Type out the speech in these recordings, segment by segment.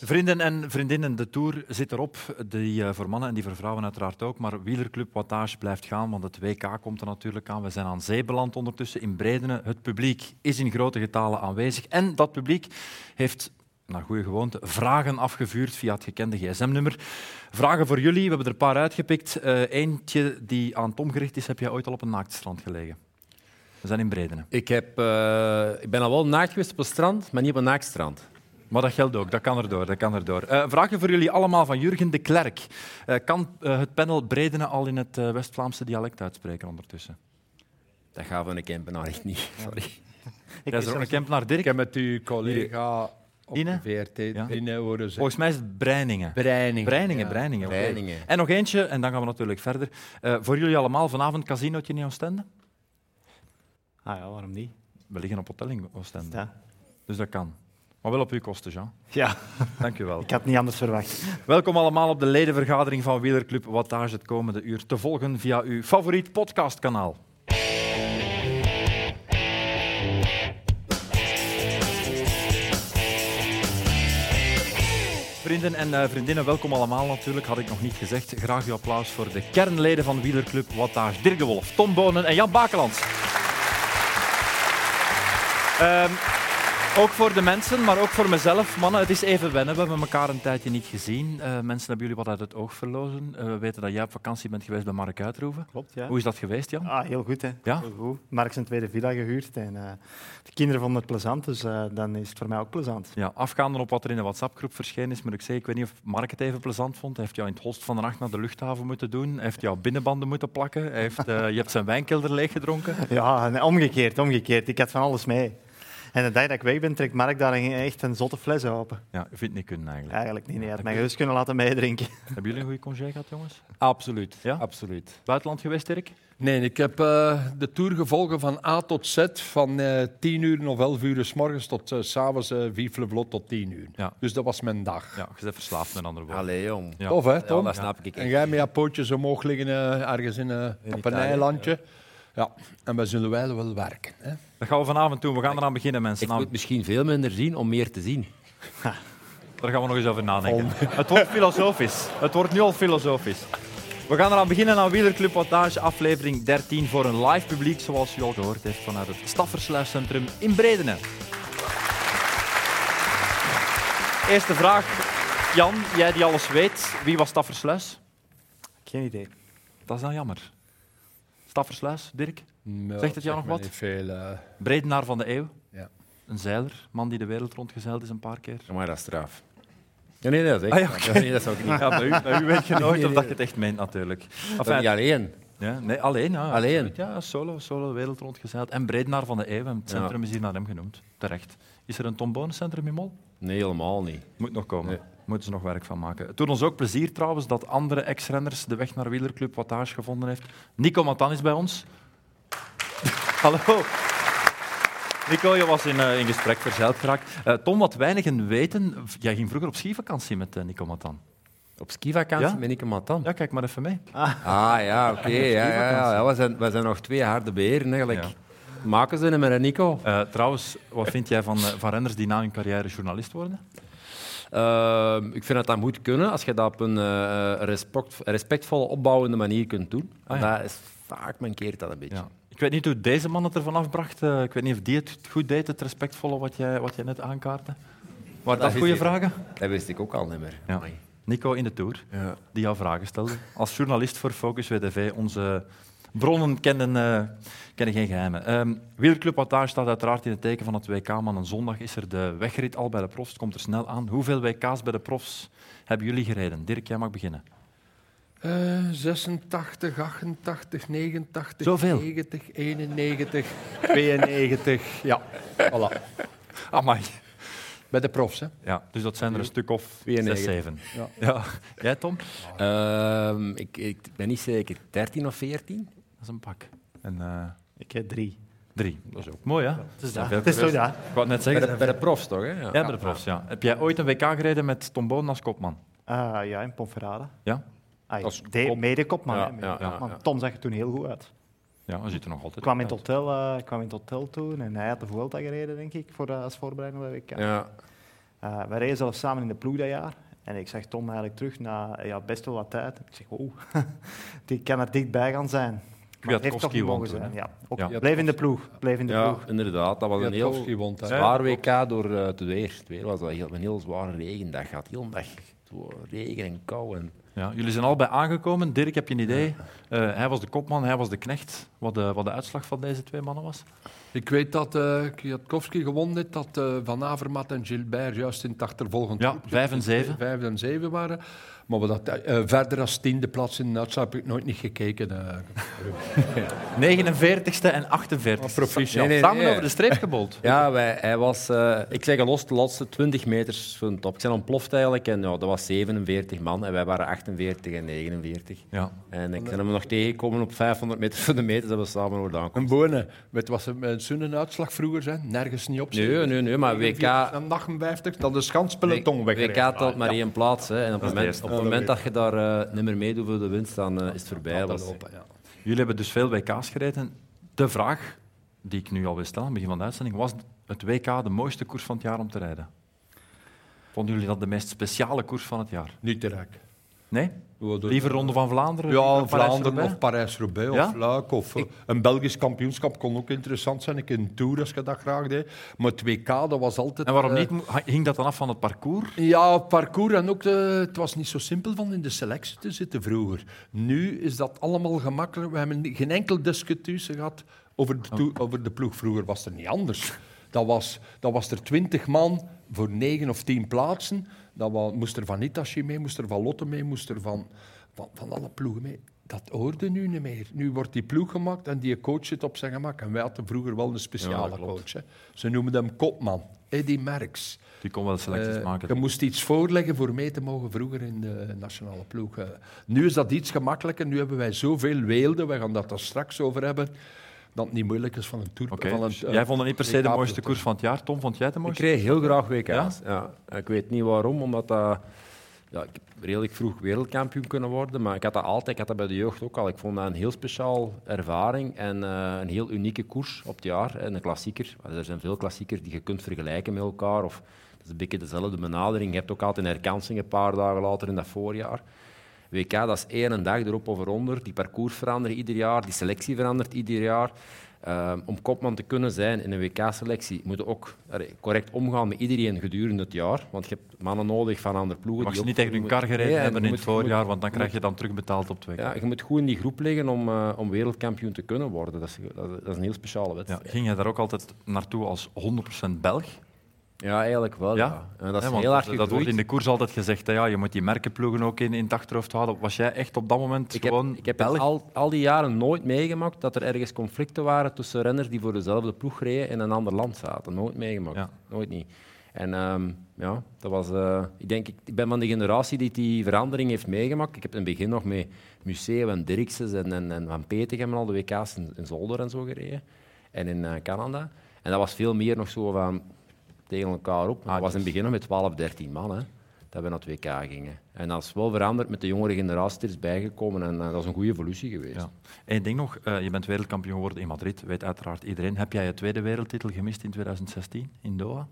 Vrienden en vriendinnen, de Tour zit erop. Die eh, voor mannen en die voor vrouwen uiteraard ook. Maar wielerclub wattage blijft gaan, want het WK komt er natuurlijk aan. We zijn aan zee beland ondertussen in Bredene. Het publiek is in grote getalen aanwezig. En dat publiek heeft naar goede gewoonte vragen afgevuurd via het gekende gsm-nummer. Vragen voor jullie, we hebben er een paar uitgepikt. Eh, eentje die aan Tom gericht is, heb jij ooit al op een naaktstrand gelegen? We zijn in Bredene. Ik, heb, eh, ik ben al wel naakt geweest op een strand, maar niet op een naaktstrand. Maar dat geldt ook, dat kan erdoor. Dat kan erdoor. Eh, vraagje voor jullie allemaal van Jurgen de Klerk. Eh, kan eh, het panel Bredene al in het eh, West-Vlaamse dialect uitspreken ondertussen? Dat gaat van een campenaar echt niet. Sorry. Ik is er ook een Kempenaar Dirk. Ik heb met uw collega op Ine? de VRT Ja. binnen horen zeggen. Volgens mij is het Breiningen. Breiningen. Breiningen, Ja. Breiningen. oké. Breiningen. En nog eentje, en dan gaan we natuurlijk verder. Eh, voor jullie allemaal vanavond casinootje in Oostende? Ah ja, waarom niet? We liggen op hotel in Oostende, Ja. dus dat kan. Maar wel op uw kosten, Jean. ja, Dank u wel. ik had het niet anders verwacht. Welkom allemaal op de ledenvergadering van Wielerclub Wattage het komende uur te volgen via uw favoriet podcastkanaal. Vrienden en eh, vriendinnen, welkom allemaal natuurlijk, had ik nog niet gezegd. Graag uw applaus voor de kernleden van Wielerclub Wattage. Dirk de Wolf, Tom Bonen en Jan Bakelands. Ehm, ook voor de mensen, maar ook voor mezelf. Mannen, het is even wennen. We hebben elkaar een tijdje niet gezien. Eh, mensen hebben jullie wat uit het oog verlozen. Eh, we weten dat jij op vakantie bent geweest bij Mark Uitroeven. Klopt, ja. Hoe is dat geweest, Jan? Ah, heel goed, hè. Ja? Heel goed. Mark zijn tweede villa gehuurd en eh, de kinderen vonden het plezant, dus eh, dan is het voor mij ook plezant. Ja, afgaande op wat er in de WhatsApp-groep verschenen is, moet ik zeggen, ik weet niet of Mark het even plezant vond. Hij heeft jou in het holst van de nacht naar de luchthaven moeten doen. Hij heeft jou binnenbanden moeten plakken. Hij heeft, eh, je hebt zijn wijnkelder leeggedronken. Ja, en omgekeerd, omgekeerd. Ik had van alles mee. En de dag dat ik weg ben, trekt Mark daar een- echt een zotte fles open. Ja, je vindt niet kunnen eigenlijk. Eigenlijk niet, nee. Hij had mij gerust kunnen laten meedrinken. Hebben jullie een goede congé gehad, jongens? Absoluut. Ja? Absoluut. Buitenland geweest, Dirk? Nee, ik heb eh, de tour gevolgen van A tot Z, van eh 10 uur of 11 uur s morgens tot eh, s s'avonds eh vive le vlot tot 10 uur. Ja. Dus dat was mijn dag. Ja, je bent verslaafd met een andere woord. Allee, jong. Ja. Tof, hè, Ja, Tom? dat snap ik. En echt. jij met je pootjes omhoog liggen eh, ergens in, eh, op een Italië, eilandje. Ja. en we zullen wel wel werken. Hè? Dat gaan we vanavond doen. We gaan eraan beginnen, mensen. Ik moet misschien veel minder zien om meer te zien. Daar gaan we nog eens over nadenken. Het wordt filosofisch. Het wordt nu al filosofisch. We gaan eraan beginnen aan Wielerclub Wattage, aflevering 13, voor een live publiek, zoals u al gehoord heeft, vanuit het Staffersluiscentrum in Bredene. Eerste vraag. Jan, jij die alles weet, wie was Staffersluis? Geen idee. Dat is dan jammer. Staffersluis, Dirk? Nou, Zegt het jou nog me wat? niet veel, eh. Bredenaar van de eeuw. Ja. Een zeiler, man die de wereld rondgezeild is een paar keer. Maar dat is straf. Ja, nee, nee, dat is Ah, echt. ja, waar. Ja, nee, dat zou ik niet. Ja, bij u, bij u weet je nooit of dat je het echt meent, natuurlijk. Dat niet alleen. Ja, nee, alleen. Ja, Alleen. absoluut. Ja, solo, solo, wereld rondgezeild. En Bredenaar van de Eeuw. en Het Ja. centrum is hier naar hem genoemd. Terecht. Is er een Tom Bonencentrum in Mol? Nee, helemaal niet. Moet nog komen. Nee. Moeten ze nog werk van maken. Het doet ons ook plezier trouwens dat andere ex-renners de weg naar wielerclub Wattage gevonden heeft. Nico Matan is bij ons. Hallo. Nico, je was in, eh, in gesprek verzeild geraakt. Eh, Tom, wat weinigen weten, v- jij ging vroeger op skivakantie met eh, Nico Matan. Op skivakantie Ja? ben ik een matan. Ja, kijk maar even mee. Ah ja, oké. ja, ja, ja. Ja, we, zijn, we zijn nog twee harde beheren eigenlijk. Ja. Maken ze hem met Nico? Eh, trouwens, wat vind jij van, eh, van renners die na hun carrière journalist worden? Ehm, ik vind dat dat moet kunnen als je dat op een eh, respect, respectvolle, opbouwende manier kunt doen. Ah, ja. Dat is vaak mankeert dat een beetje. Ja. Ik weet niet hoe deze man het ervan afbracht. Eh, ik weet niet of die het goed deed, het respectvolle wat jij, wat jij net aankaartte. Maar dat is goede hier. vragen. Dat wist ik ook al niet meer. Ja. Amai. Nico in de Tour, Ja. die jou vragen stelde. Als journalist voor Focus WDV, onze bronnen kennen, eh, kennen geen geheimen. Ehm Wielerclub Wattage staat uiteraard in het teken van het WK, maar een zondag is er de wegrit al bij de profs. Het komt er snel aan. Hoeveel WK's bij de profs hebben jullie gereden? Dirk, jij mag beginnen. Eh, 86, 88, 89, Zoveel? 90, 91, 92. Ja, voilà. Amai. Bij de profs, hè. Ja, dus dat zijn er een stuk of 6, 92. 7. Ja. Ja. Jij, Tom? Ehm, ik, ik ben niet zeker, 13 of 14? Dat is een pak. En, eh, Ik heb drie. Drie. Dat is ook mooi, hè? Het is Ja, het is zo, ja. Ik wou net Bij zeggen... de, bij de profs toch? Hè? Ja. ja, bij de profs, ja. Heb jij ooit een WK gereden met Tom Boon als kopman? Ah, ja, in Ponferrada. Ja? Ah, ja. Als De, kop- medekopman. Ja, hè, ja, ja, medekopman. ja. Tom zag er toen heel goed uit. Ja, we zitten nog altijd. Ik kwam in het hotel, eh, ik kwam in het hotel toen en hij had de Vuelta gereden, denk ik, voor, eh, als voorbereiding bij de WK. Ja. Eh, wij reden zelfs samen in de ploeg dat jaar. En ik zag Tom eigenlijk terug na eh, ja, best wel wat tijd. Ik zeg, wow, die kan er dichtbij gaan zijn. Maar het heeft toch Kwiatkowski niet mogen won toen, zijn. Ja, ook, Ja. Bleef in de ploeg. Bleef in de Ja, ploeg. inderdaad. Dat was een heel Jatkowski won daar. zwaar WK door eh, het weer. Het weer was dat heel, een heel zware regendag. Gaat heel een dag zo regen en kou. En... Ja, jullie zijn allebei aangekomen. Dirk, heb je een idee? Eh, hij was de kopman, hij was de knecht. Wat de, wat de uitslag van deze twee mannen was? Ik weet dat eh Kwiatkowski gewonnen heeft, dat eh, Van Avermaet en Gilbert juist in het achtervolgend Ja, groepje vijf en zeven. vijf en zeven waren. Maar wat dat, eh, verder als tiende plaats in de uitslag heb ik nooit niet gekeken. eh. 49ste en 48ste. Ah, proficiat. Nee, nee, Samen over de streep gebold. Ja, wij, hij was, eh, ik zeg los, de laatste 20 meters van de top. Ik zijn ontploft eigenlijk en ja, dat was 47 man en wij waren 48 en 49. Ja. En ik ben hem nog tegengekomen op 500 meter van de meter dat we samen over de aankomen. Een bonen. Weet wat ze met zo'n uitslag vroeger zijn? Nergens niet op. Nee, nee, nee, maar WK, Dan 58, dan de schanspeloton weg. WK telt maar één plaats. Hè. En op het moment, op het moment dat je daar eh, niet meer meedoet voor de winst, dan eh, is het voorbij. Was. Jullie hebben dus veel WK's gereden. De vraag die ik nu al wil stellen, aan het begin van de uitzending, was het WK de mooiste koers van het jaar om te rijden? Vonden jullie dat de meest speciale koers van het jaar? Niet te rijk. Nee? Liever Ronde van Vlaanderen? Ja, liever Vlaanderen Parijs-Roubaix? of Parijs-Roubaix Ja? of Luik. Of, eh, Een Belgisch kampioenschap kon ook interessant zijn. Ik in Tour als je dat graag deed. Maar het WK, dat was altijd... En waarom eh, niet? Mo- Hing dat dan af van het parcours? Ja, parcours en ook de, het was niet zo simpel van in de selectie te zitten vroeger. Nu is dat allemaal gemakkelijk. We hebben ni- geen enkel discutuus gehad over de, toe- over de ploeg. Vroeger was het niet anders. Dat was, dat was er twintig man voor negen of tien plaatsen. Dat wa- moest er van Itachi mee, moest er van Lotte mee, moest er van, van, van alle ploegen mee. Dat hoorde nu niet meer. Nu wordt die ploeg gemaakt en die coach zit op zijn gemak. En wij hadden vroeger wel een Ja, speciale dat klopt. coach. Hè. Ze noemden hem Kopman, Eddie Merckx. Die kon wel selecties Eh, maken. Je moest iets voorleggen voor mee te mogen vroeger in de nationale ploeg. eh. nu is dat iets gemakkelijker. Nu hebben wij zoveel weelden. We gaan dat er straks over hebben. Dat het niet moeilijk is van een toer. Oké, van een, dus eh, jij vond het niet per se de WK mooiste koers van het jaar. Tom, vond jij het de Ik mooiste? kreeg heel graag WK's. Ja? Ik weet niet waarom, omdat dat, ja, ik heb redelijk vroeg wereldkampioen kunnen worden. Maar ik had dat altijd, ik had dat bij de jeugd ook al. Ik vond dat een heel speciaal ervaring en eh, een heel unieke koers op het jaar. En een klassieker. Want Er zijn veel klassiekers die je kunt vergelijken met elkaar. Of, dat is een beetje dezelfde benadering. Je hebt ook altijd een herkansing een paar dagen later in dat voorjaar. WK, dat is één dag erop of eronder. Die parcours verandert ieder jaar, die selectie verandert ieder jaar. Ehm, om kopman te kunnen zijn in een WK-selectie moet je ook allee, correct omgaan met iedereen gedurende het jaar. Want je hebt mannen nodig van andere Je ploegen. mag die ze ook- niet tegen hun kar gereden Nee, en hebben je in moet- het je moet- voorjaar, want dan krijg je dan terugbetaald op twee. Ja. Ja, je moet goed in die groep liggen om, eh, om wereldkampioen te kunnen worden. Dat is, dat is- dat is een heel speciale wedstrijd. Ja, ging jij daar ook altijd naartoe als 100% Belg? eigenlijk wel. Ja? Ja. En dat is Hè, want heel hard Dat wordt gegroeid. in de koers altijd gezegd. Hè, ja, je moet die merkenploegen ook in, in het achterhoofd houden. Was jij echt op dat moment Ik heb, gewoon ik heb Belg? in al, al die jaren nooit meegemaakt dat er ergens conflicten waren tussen renners die voor dezelfde ploeg reden in een ander land zaten. Nooit meegemaakt. Ja. Nooit niet. En ehm, ja, dat was, eh, ik, denk, ik, ik ben van de generatie die die verandering heeft meegemaakt. Ik heb in het begin nog met Museeuw en Dirksens en, en, en Van Petegem en al de WK's in, in Zolder en zo gereden. En in eh, Canada. En dat was veel meer nog zo van tegen elkaar op. Dat was in het begin nog met 12, 13 man. Hè, dat we naar het WK gingen. En dat is wel veranderd met de jongere generatie die er is bijgekomen. En eh, dat is een goede evolutie geweest. Ja. Eén ding nog, eh, je bent wereldkampioen geworden in Madrid, weet uiteraard iedereen. Heb jij je tweede wereldtitel gemist in 2016 in Doha?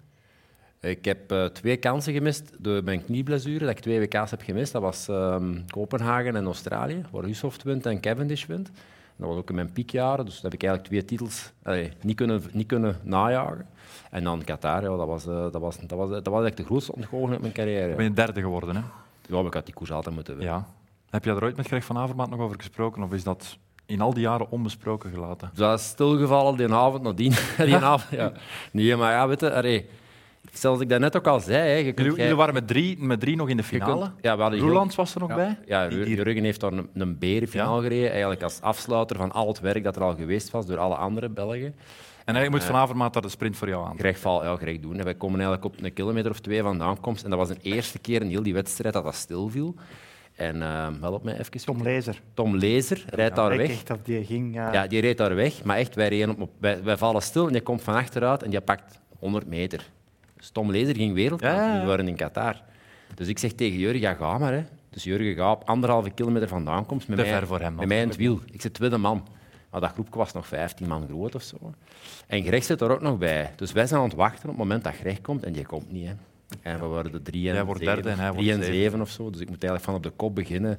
Ik heb eh, twee kansen gemist door mijn knieblessure, dat ik twee WK's heb gemist. Dat was ehm, Kopenhagen en Australië, waar Hushoft wint en Cavendish wint. En dat was ook in mijn piekjaren, dus dat heb ik eigenlijk twee titels allee, niet, kunnen, niet kunnen najagen. En dan Qatar, ja, dat, was, eh, dat, was, dat, was, dat was eigenlijk de grootste ontgoocheling uit mijn Dan carrière. ben je derde geworden, hè? Ja, maar ik had die koers altijd moeten winnen. Ja. Heb jij er ooit met Greg van Avermaat nog over gesproken? Of is dat in al die jaren onbesproken gelaten? Dus dat is stilgevallen die avond nadien. die avond, ja. Nee, maar ja, weet je, allee, zelfs ik dat net ook al zei, hè, je kunt... Jullie, jij- jullie waren met drie, met drie nog in de je kunt- finale. ja, we hadden heel- Roelands was er nog bij. Ja, Jur- Jurgen heeft daar een, een berenfinaal gereden, eigenlijk als afsluiter van al het werk dat er al geweest was door alle andere Belgen. En eigenlijk moet Van Avermaat daar de sprint voor jou aan. Greg val, ja, Greg doen. En wij komen eigenlijk op een kilometer of twee van de aankomst. En dat was de eerste keer in heel die wedstrijd dat dat stilviel. En ehm help mij even. Tom Lezer. Tom Lezer rijdt daar Ik weg. echt dat die ging... eh, ja. Ja, die reed daar weg, maar echt, wij, reden op, wij, wij vallen stil en die komt van achteruit en die pakt 100 meter. Stom lezer ging wereldkampioen Ja, ja, ja. worden in Qatar. Dus ik zeg tegen Jurgen, ja, ga maar. Hè. Dus Jurgen gaat op anderhalve kilometer vandaan komt met, Te mij, ver voor hem, met mij in het wiel. Ik zit tweede man. Maar dat groepje was nog 15 man groot of zo. En Greg zit er ook nog bij. Dus wij zijn aan het wachten op het moment dat Greg komt en die komt niet. Hè. En we waren de drie en Jij wordt zeven, derde en hij wordt drie en zevende. zeven of zo. Dus ik moet eigenlijk van op de kop beginnen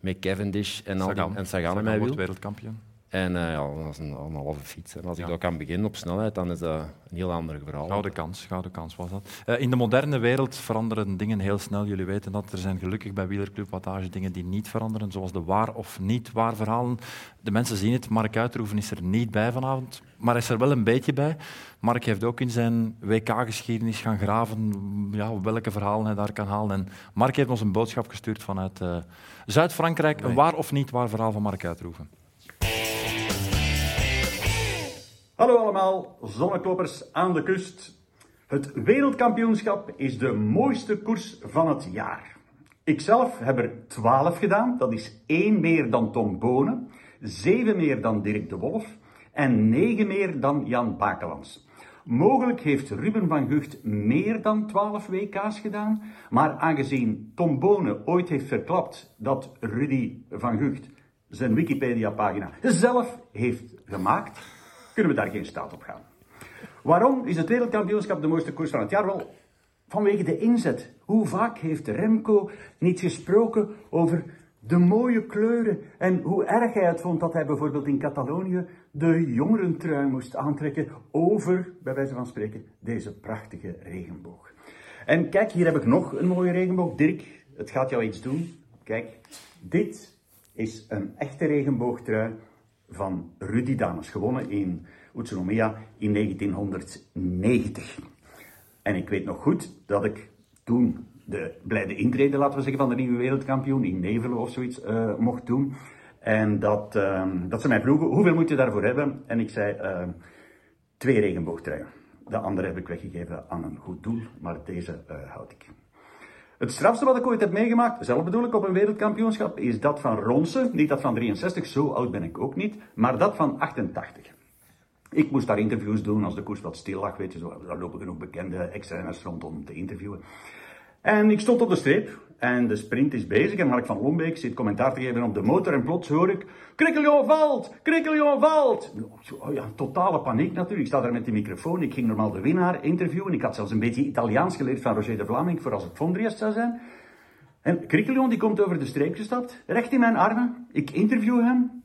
met Cavendish en, al die, Sagan. en Sagan in Sagan mijn wordt wiel. wereldkampioen. En eh, ja, dat is een, een halve fiets. En als ik Ja. dat kan beginnen op snelheid, dan is dat een heel ander verhaal. Gouden kans, gouden kans was dat. Eh, in de moderne wereld veranderen dingen heel snel. Jullie weten dat. Er zijn gelukkig bij Wielerclub Wattage dingen die niet veranderen, zoals de waar of niet waar verhalen. De mensen zien het. Mark Uitroeven is er niet bij vanavond, maar hij is er wel een beetje bij. Mark heeft ook in zijn WK-geschiedenis gaan graven ja, welke verhalen hij daar kan halen. En Mark heeft ons een boodschap gestuurd vanuit eh, Zuid-Frankrijk. Een waar of niet waar verhaal van Mark Uitroeven. Hallo allemaal, zonnekloppers aan de kust. Het wereldkampioenschap is de mooiste koers van het jaar. Ikzelf heb er 12 gedaan, dat is 1 meer dan Tom Bonen, 7 meer dan Dirk de Wolf en 9 meer dan Jan Bakelands. Mogelijk heeft Ruben van Gucht meer dan 12 WK's gedaan, maar aangezien Tom Bonen ooit heeft verklapt dat Rudy van Gucht zijn Wikipedia-pagina zelf heeft gemaakt, kunnen we daar geen staat op gaan. Waarom is het wereldkampioenschap de mooiste koers van het jaar? Wel, vanwege de inzet. Hoe vaak heeft Remco niet gesproken over de mooie kleuren en hoe erg hij het vond dat hij bijvoorbeeld in Catalonië de jongerentrui moest aantrekken over, bij wijze van spreken, deze prachtige regenboog. En kijk, hier heb ik nog een mooie regenboog. Dirk, het gaat jou iets doen. Kijk, dit is een echte regenboogtrui van Rudy Dames, gewonnen in Utsunomiya in 1990. En ik weet nog goed dat ik toen de blijde intrede, laten we zeggen, van de nieuwe wereldkampioen in Nevelen of zoiets eh, mocht doen. En dat, ehm, dat ze mij vroegen, hoeveel moet je daarvoor hebben? En ik zei, ehm, twee regenboogtruien. De andere heb ik weggegeven aan een goed doel, maar deze eh, houd ik. Het strafste wat ik ooit heb meegemaakt, zelf bedoel ik op een wereldkampioenschap, is dat van Ronsen. Niet dat van 63, zo oud ben ik ook niet, maar dat van 88. Ik moest daar interviews doen als de koers wat stil lag, weet je, zo, daar lopen genoeg bekende extra's rond om te interviewen. En ik stond op de streep en de sprint is bezig en Mark van Lombeek zit commentaar te geven op de motor en plots hoor ik Krikkeljoen valt! Krikkeljoen valt! Nu, Oh ja, totale paniek natuurlijk. Ik sta daar met die microfoon. Ik ging normaal de winnaar interviewen. Ik had zelfs een beetje Italiaans geleerd van Roger de Vlaming voor als het Vondriest zou zijn. En Krikkeljoen die komt over de streep gestapt, recht in mijn armen. Ik interview hem.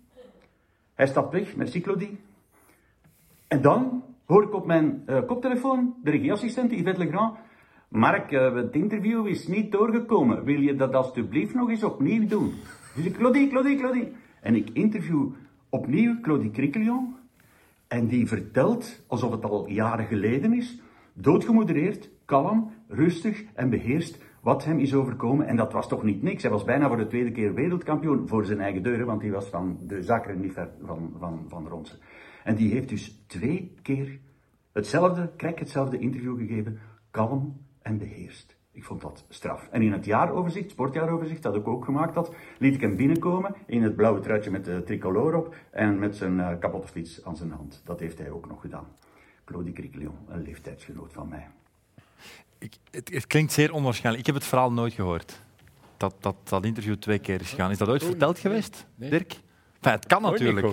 Hij stapt weg met Cyclodie. En dan hoor ik op mijn eh, koptelefoon de regieassistent Yvette Legrand. Mark, eh, het interview is niet doorgekomen. Wil je dat alstublieft nog eens opnieuw doen? Dus ik, Claudie, Claudie, Claudie. En ik interview opnieuw Claudie Criquelion. En die vertelt, alsof het al jaren geleden is, doodgemoedereerd, kalm, rustig en beheerst wat hem is overkomen. En dat was toch niet niks. Hij was bijna voor de tweede keer wereldkampioen voor zijn eigen deuren, want die was van de Zakeren niet ver van, van, van Ronsen. En die heeft dus twee keer hetzelfde, krek hetzelfde interview gegeven, kalm en beheerst. Ik vond dat straf. En in het jaaroverzicht, sportjaaroverzicht, dat ik ook gemaakt had, liet ik hem binnenkomen in het blauwe truitje met de tricolore op en met zijn eh, kapotte fiets aan zijn hand. Dat heeft hij ook nog gedaan. Claudie Criquelion, een leeftijdsgenoot van mij. Ik, het, het klinkt zeer onwaarschijnlijk. Ik heb het verhaal nooit gehoord. Dat, dat, dat interview twee keer is gegaan. Is dat ooit verteld geweest, Nee. Dirk? Enfin, het kan natuurlijk.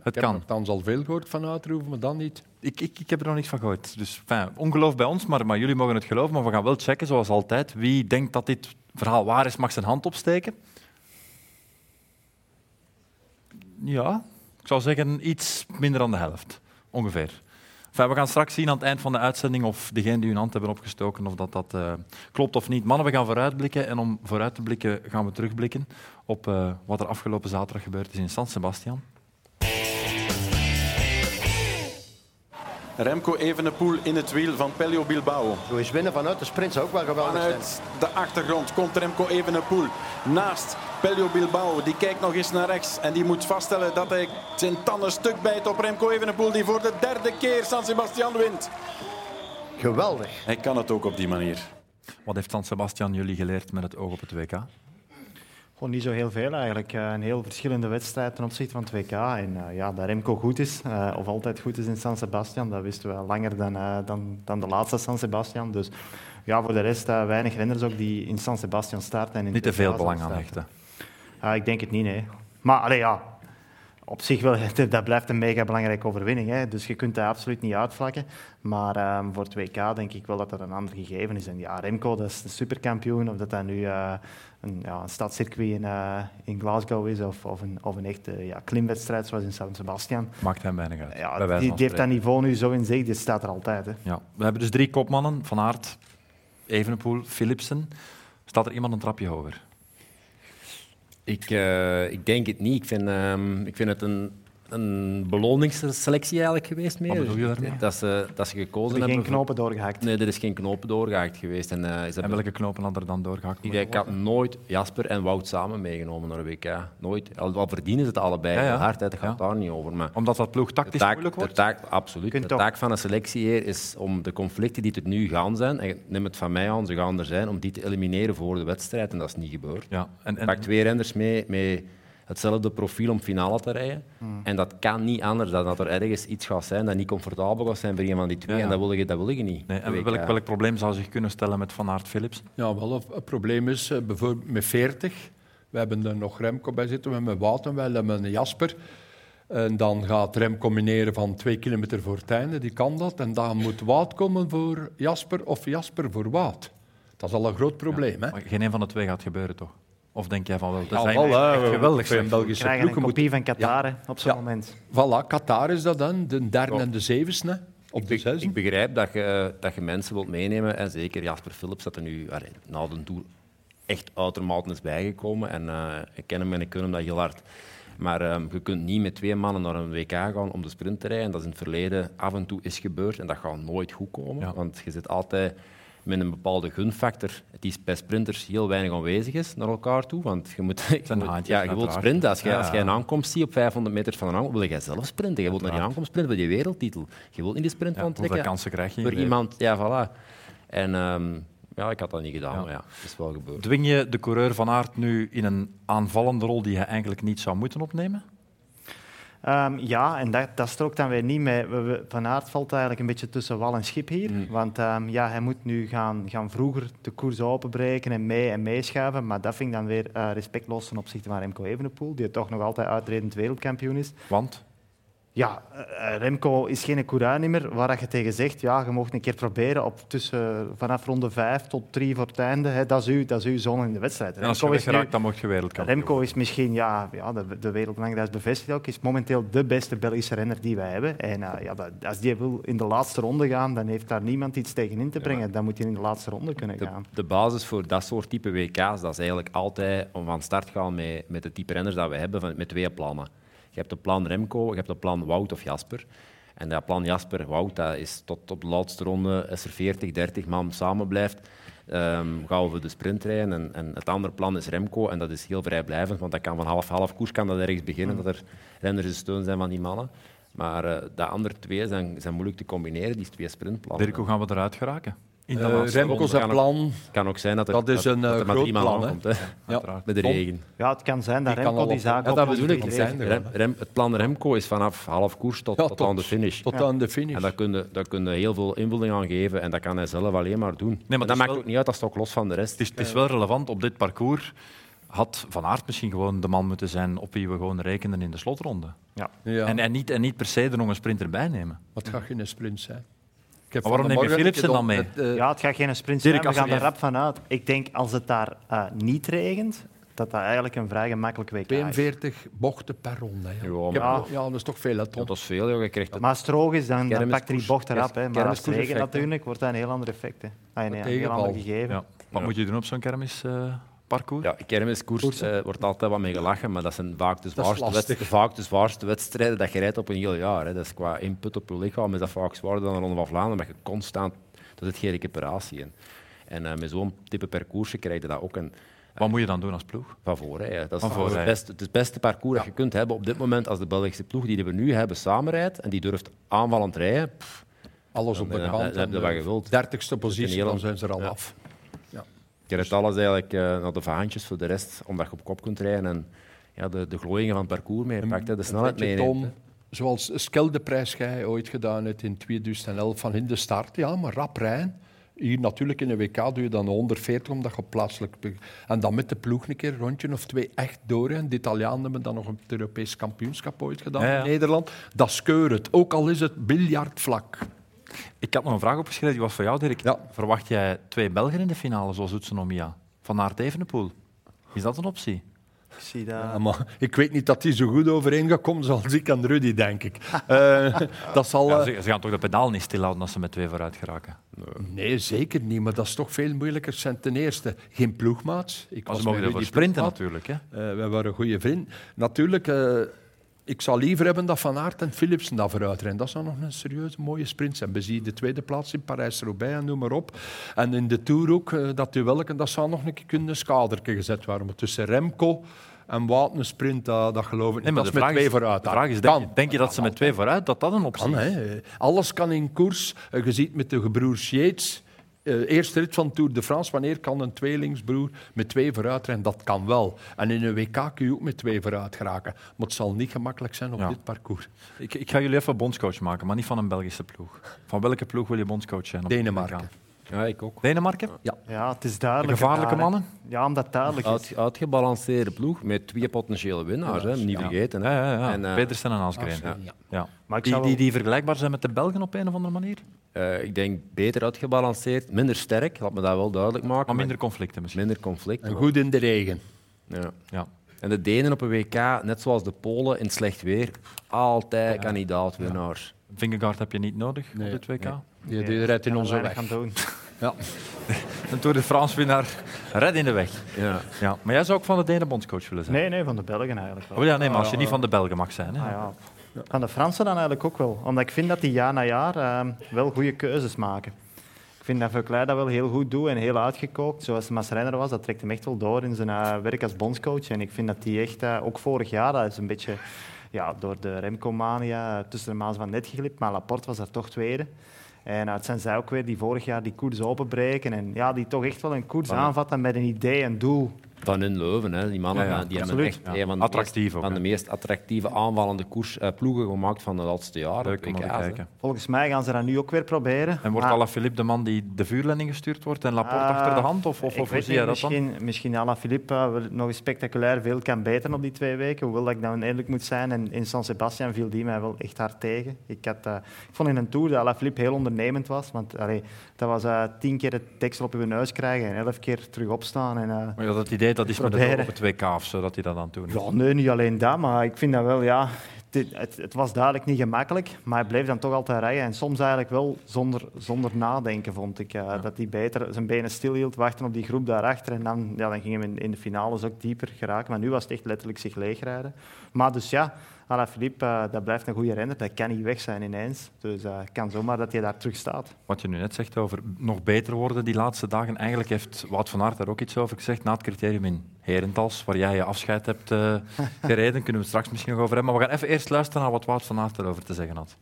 Het ik kan. heb althans al veel gehoord van Uitroeven, maar dan niet. Ik, ik, ik heb er nog niks van gehoord. Dus enfin, ongeloof bij ons, maar, maar jullie mogen het geloven. Maar we gaan wel checken, zoals altijd. Wie denkt dat dit verhaal waar is, mag zijn hand opsteken. Ja, ik zou zeggen iets minder dan de helft. Ongeveer. Enfin, we gaan straks zien aan het eind van de uitzending of degenen die hun hand hebben opgestoken, of dat, dat eh, klopt of niet. Mannen, we gaan vooruitblikken. En om vooruit te blikken gaan we terugblikken op eh, wat er afgelopen zaterdag gebeurd is in San Sebastian. Remco Evenepoel in het wiel van Pelio Bilbao. Zo is winnen vanuit de sprint zou ook wel geweldig zijn. Vanuit de achtergrond komt Remco Evenepoel naast Pelio Bilbao. Die kijkt nog eens naar rechts en die moet vaststellen dat hij zijn tanden stuk bijt op Remco Evenepoel. Die voor de derde keer San Sebastian wint. Geweldig. Hij kan het ook op die manier. Wat heeft San Sebastian jullie geleerd met het oog op het WK? Gewoon niet zo heel veel eigenlijk. Eh, een heel verschillende wedstrijd ten opzichte van het WK. En eh, ja, dat Remco goed is, eh, of altijd goed is in San Sebastian, dat wisten we al langer dan, eh, dan, dan de laatste San Sebastian. Dus ja, voor de rest eh, weinig renners ook die in San Sebastian starten. En in Niet het te veel WK belang aan starten. hechten. Ah, ik denk het niet, nee. Maar allee, ja. op zich wel, dat blijft een mega belangrijke overwinning. Hè. Dus je kunt dat absoluut niet uitvlakken. Maar ehm, voor het WK denk ik wel dat dat een ander gegeven is. En ja, Remco, dat is een superkampioen. Of dat dat nu eh, een, ja, een stadscircuit in, eh, in Glasgow is of, of, een, of een echte ja, klimwedstrijd zoals in San Sebastian. Maakt hem weinig uit. bij Ja, wijze van die, die heeft dat spreken. niveau nu zo in zich. Dit staat er altijd. Hè. Ja. We hebben dus drie kopmannen. Van Aert, Evenepoel, Philipsen. Staat er iemand een trapje hoger? Ik, eh, ik denk het niet. Ik vind, ehm, ik vind het een, een beloningsselectie eigenlijk geweest. Meer. bedoel je daarmee? Dat ze, dat ze Ze gekozen hebben hebben. geen voor- knopen doorgehakt. Nee, er is geen knoop doorgehaakt geweest. En, eh, is dat En welke knopen had er dan doorgehakt? Ik, denk, ik had nooit Jasper en Wout samen meegenomen naar de WK. Nooit. Al, al verdienen ze het allebei Ja, ja. heel hard, hè, dat gaat Ja. daar niet over. Maar Omdat dat ploeg de tactisch taak, moeilijk de wordt? taak, absoluut. Kunt De toch- taak van een selectieheer is om de conflicten die er nu gaan zijn, en neem het van mij aan, ze gaan er zijn, om die te elimineren voor de wedstrijd. En dat is niet gebeurd. Ja. En, Pak en, twee renders mee met hetzelfde profiel om finale te rijden. Hmm. En dat kan niet anders dan dat er ergens iets gaat zijn dat niet comfortabel gaat zijn voor een van die twee. Ja, ja. En dat wil je, dat wil je niet. nee, en WK. welk, welk probleem zou zich kunnen stellen met Van Aert, Philipsen? Ja, wel. of- Het probleem is eh, bijvoorbeeld met 40. We hebben er nog Remco bij zitten, we hebben Wout en we hebben Jasper. En dan gaat Rem combineren van twee kilometer voor het einde, die kan dat. En dan moet Wout komen voor Jasper of Jasper voor Wout. Dat is al een groot probleem. Hè? Maar geen een van de twee gaat gebeuren, toch? Of denk jij van wel? Dat Ja, zijn wel, hè. echt We- geweldig. we- we- slecht. We Belgische krijgen een ploegen moeten... kopie van Qatar hè, op zo'n Ja. moment. Voilà, Qatar is dat dan, de derde en de zevende. Op de Dus Ik, zesde. ik begrijp dat je, dat je mensen wilt meenemen. En zeker Jasper Philips, dat er nu allee, na de Tour echt uitermate is bijgekomen. En eh, ik ken hem en ik ken hem dat heel hard. Maar ehm, je kunt niet met twee mannen naar een WK gaan om de sprint te rijden. Dat is in het verleden af en toe is gebeurd. En dat gaat nooit goed komen. Ja. Want je zit altijd met een bepaalde gunfactor die bij sprinters heel weinig aanwezig is naar elkaar toe. Want je moet, je zijn moet- haantjes, ja, je wilt uiteraard. sprinten. Als jij, als Ja. jij een aankomst ziet op 500 meter van een aankomst, wil jij zelf sprinten. Je wilt naar die aankomst sprinten voor die wereldtitel. Je wilt in die sprint Ja, van hoeveel trekken kansen krijg je? in voor je leven? iemand. Ja, voilà. En ehm, ja, ik had dat niet gedaan, maar ja, het is wel gebeurd. Dwing je de coureur van Aert nu in een aanvallende rol die hij eigenlijk niet zou moeten opnemen? Ehm, ja, en dat, dat strookt dan weer niet mee. We- we- Van Aert valt eigenlijk een beetje tussen wal en schip hier. Mm. Want ehm, ja, hij moet nu gaan, gaan vroeger de koers openbreken en mee en meeschuiven. Maar dat vind ik dan weer eh, respectloos ten opzichte van Remco Evenepoel, die toch nog altijd uitredend wereldkampioen is. Want Ja, eh, eh, Remco is geen meer waar dat je tegen zegt, ja, je mocht een keer proberen op tussen, vanaf ronde 5 tot 3 voor het einde. Hè, dat, is uw, dat is uw zone in de wedstrijd. en als je Remco is nu- weggeraakt, dan mocht je wereldkampioen. Remco is misschien, ja, ja de, de wereldbelangrijk, dat is bevestigd ook, is momenteel de beste Belgische renner die wij hebben. En eh, ja, dat, als die wil in de laatste ronde gaan, dan heeft daar niemand iets tegen in te brengen. Dan moet hij in de laatste ronde kunnen De, gaan. de basis voor dat soort type WK's, dat is eigenlijk altijd om van start te gaan met, met de type renners dat we hebben, van, met twee plannen. Je hebt het plan Remco, je hebt het plan Wout of Jasper. En dat plan Jasper-Wout, dat is tot op de laatste ronde, als er 40, 30 man samen blijft, ehm, gaan we voor de sprint rijden. En, en het andere plan is Remco, en dat is heel vrijblijvend, want dat kan van half-half koers kan dat ergens Mm. beginnen, dat er renners in steun zijn van die mannen. Maar eh de andere twee zijn, zijn moeilijk te combineren, die twee sprintplannen. Dirk, hoe gaan we eruit geraken? In de Eh, laatste Remco ronde. zijn plan, Het kan ook zijn dat er, Dat is een, er eh, maar groot drie man plan, hè. aankomt, hè. ja, Met de Tom? regen. Ja, het kan zijn dat Die kan Remco al die op- zaak Ja, op dat ons bedoel ik, die gedreven zijn er. Rem- Rem- het plan Remco is vanaf half koers tot, Ja, tot, aan de finish. Tot aan de finish. En daar kun, je, daar kun je heel veel invulling aan geven en dat kan hij zelf alleen maar doen. En het dat is maakt wel- ook niet uit, dat is ook los van de rest. Het is, het is wel relevant op dit parcours. Had Van Aert misschien gewoon de man moeten zijn op wie we gewoon rekenden in de slotronde? Ja, En, en, niet, en niet per se er nog een sprinter bij nemen. wat gaat geen sprint zijn? Ik heb Maar waarom neem je vanmorgen Philipsen dan mee? een keer dat- Ja, het gaat geen sprint Dirk, zijn, we als er gaan er geen- rap van uit. Ik denk als het daar eh, niet regent, dat dat eigenlijk een vrij gemakkelijk WK eh, is. 42 bochten per ronde. Ja, Ja, Ik heb- maar- ja, dat is toch veel, hè, Tom? Dat was veel, joh. je krijgt het. Maar als het droog is, dan, dan Kermiskoers- pakt hij die bocht erop. hè. Maar als het kermiskoerseffect, regent hè. natuurlijk, wordt dat een heel ander effect. hè. Ah, nee, een heel tegenval. ander gegeven. Ja. Wat moet je doen op zo'n eh, kermisparcours? Ja, kermiskoers eh, wordt altijd wat mee gelachen, maar dat zijn vaak de is zwaarste, lastig. wedst- vaak de zwaarste wedstrijden dat je rijdt op een heel jaar. Hè. Dat is qua input op je lichaam is dat vaak zwaarder dan een Ronde van Vlaanderen, omdat je constant, dat zit geen recuperatie in. En eh, met zo'n type parcoursje krijg je dat ook. En Wat moet je dan doen als ploeg? van voorrijden. Dat is Van voorrijden. Het, beste, het is het beste parcours dat je kunt hebben op dit moment als de Belgische ploeg die we nu hebben samenrijdt en die durft aanvallend rijden. Pff, Alles op de Dan, eh, kant. dan heb je wat gewild. 30ste positie, heel- dan zijn ze er al Ja. af. je redt alles eigenlijk eh, naar de vaantjes voor de rest, omdat je op kop kunt rijden en ja, de, de glooiingen van het parcours meepakt, hè, de snelheid Weet je, meeneemt. hè. Tom, zoals Skel de prijs jij ooit gedaan hebt in 2011 van in de start, ja, maar rap rijden. Hier natuurlijk in de WK doe je dan 140, omdat je plaatselijk... be- En dan met de ploeg een keer een rondje of twee echt door. En de Italianen hebben dan nog het Europees kampioenschap ooit gedaan Ja, ja. in Nederland. Dat skeur het, ook al is het biljartvlak. Ik had nog een vraag opgeschreven, die was voor jou, Dirk. Ja. Verwacht jij twee Belgen in de finale, zoals Utsunomia? Van Aert Evenepoel? Is dat een optie? Ik zie dat. Ja, maar ik weet niet dat die zo goed overeen gaat komen zoals ik en Rudy, denk ik. Eh, dat zal... Ja, eh, ze, ze gaan toch de pedaal niet stilhouden als ze met twee vooruit geraken? Nee, zeker niet. Maar dat is toch veel moeilijker. Zijn ten eerste geen ploegmaat. Ik Maar was ze mogen bij ervoor Rudy sprinten ploegmaat. natuurlijk. Hè? Eh, we waren een goede vriend. Natuurlijk, eh, ik zou liever hebben dat Van Aert en Philipsen daar vooruit rennen. Dat zou nog een serieuze mooie sprint zijn. We zien de tweede plaats in Parijs-Roubaix en noem maar op. En in de Tour ook, eh, dat duelken, dat zou nog een keer kunnen een skaderke gezet worden. Maar tussen Remco en Wout een sprint, dat, dat geloof ik niet. Nee, maar dat de is met vraag twee is- vooruit. De daar. vraag is, denk, Kan. je- denk je dat ze met twee vooruit, dat dat een optie Kan, is? hè. Alles kan in koers. Eh, Je ziet met de gebroers Yates, eh, eerste rit van Tour de France, wanneer kan een tweelingsbroer met twee vooruit rennen? Dat kan wel. En in een WK kun je ook met twee vooruit geraken. Maar het zal niet gemakkelijk zijn op Ja. dit parcours. Ik, ik ga jullie even bondscoach maken, maar niet van een Belgische ploeg. Van welke ploeg wil je bondscoach zijn? op het Denemarken. WK? Ja, ik ook. Denemarken? Ja, het is duidelijk. Gevaarlijke daar, hè. mannen? Ja, omdat het duidelijk is. Uit, uitgebalanceerde ploeg met twee potentiële winnaars, hè. niet vergeten. Hè. Ja, ja, ja. En, eh, Petersen en Asgreen. Ja. Asgreen, ja. Maar ik Die, zou die, wel- die vergelijkbaar zijn met de Belgen op een of andere manier. Eh, ik denk beter uitgebalanceerd, minder sterk, laat me dat wel duidelijk maken. Maar minder conflicten misschien. minder conflict. En goed in de regen. Ja. Ja. En de Denen op een WK, net zoals de Polen in slecht weer, altijd kandidaat-winnaar. Vingegaard heb je niet nodig Nee. op dit WK. Die, die rijdt in Ja, onze weinig weg. aan doen. Ja. Een Tour de France winnaar, red in de weg. Ja. Ja. Maar jij zou ook van de Denen bondscoach willen zijn? Nee, nee, van de Belgen eigenlijk wel. Oh, ja, nee, maar als je niet van de Belgen mag zijn. Hè. Ah, ja. Van de Fransen dan eigenlijk ook wel. Omdat ik vind dat die jaar na jaar eh, wel goede keuzes maken. Ik vind dat Verkleij dat wel heel goed doet en heel uitgekookt. Zoals Mas Renner was, dat trekt hem echt wel door in zijn eh, werk als bondscoach. En ik vind dat die echt, eh, ook vorig jaar, dat is een beetje ja, door de Remco-mania eh, tussen de maas van net geglipt. Maar Laporte was daar toch tweede. En eh, het zijn zij ook weer die vorig jaar die koers openbreken. En ja, die toch echt wel een koers aanvatten met een idee, een doel. Van hun Leuven, hè. die mannen Ja, ja, die hebben absoluut. echt een van de, Attractief meest, ook, van de hè. meest attractieve aanvallende koers, eh, ploegen gemaakt van de laatste jaren. Leuk om op naar te WK's, hè. kijken. Volgens mij gaan ze dat nu ook weer proberen. En wordt Maar- Alaphilippe de man die de vuurlending gestuurd wordt en Laporte Ah, achter de hand? Of, of, ik of hoe weet zie je niet, dat dan? misschien, Misschien Alaphilippe eh, wel nog eens spectaculair veel kan beteren op die twee weken. Hoewel dat ik dan eerlijk moet zijn. En in San Sebastian viel die mij wel echt hard tegen. Ik, had, eh, ik vond in een tour dat Alaphilippe heel ondernemend was. Want allee, dat was eh, tien keer het deksel op uw neus krijgen en elf keer terug opstaan. En, eh, Maar ja, dat idee dat is met Proberen. het op het WK of zo, dat hij dat aan het doen is. ja, nee, niet alleen dat, maar ik vind dat wel, ja... dit- het, het was duidelijk niet gemakkelijk, maar hij bleef dan toch altijd rijden. En soms eigenlijk wel zonder, zonder nadenken, vond ik. eh, Dat hij beter zijn benen stilhield, wachten op die groep daarachter. En dan, ja, dan gingen we in, in de finales ook dieper geraken. Maar nu was het echt letterlijk zich leegrijden. Maar dus ja, Alaphilippe, eh, dat blijft een goede renner. Dat kan niet weg zijn ineens. Dus eh, het kan zomaar dat hij daar terug staat. Wat je nu net zegt over nog beter worden die laatste dagen. Eigenlijk heeft Wout van Aert daar ook iets over gezegd. Na het criterium in Herentals, waar jij je afscheid hebt eh, gereden, kunnen we het straks misschien nog over hebben. Maar we gaan even eerst luisteren naar wat Wout van Aert erover te zeggen had.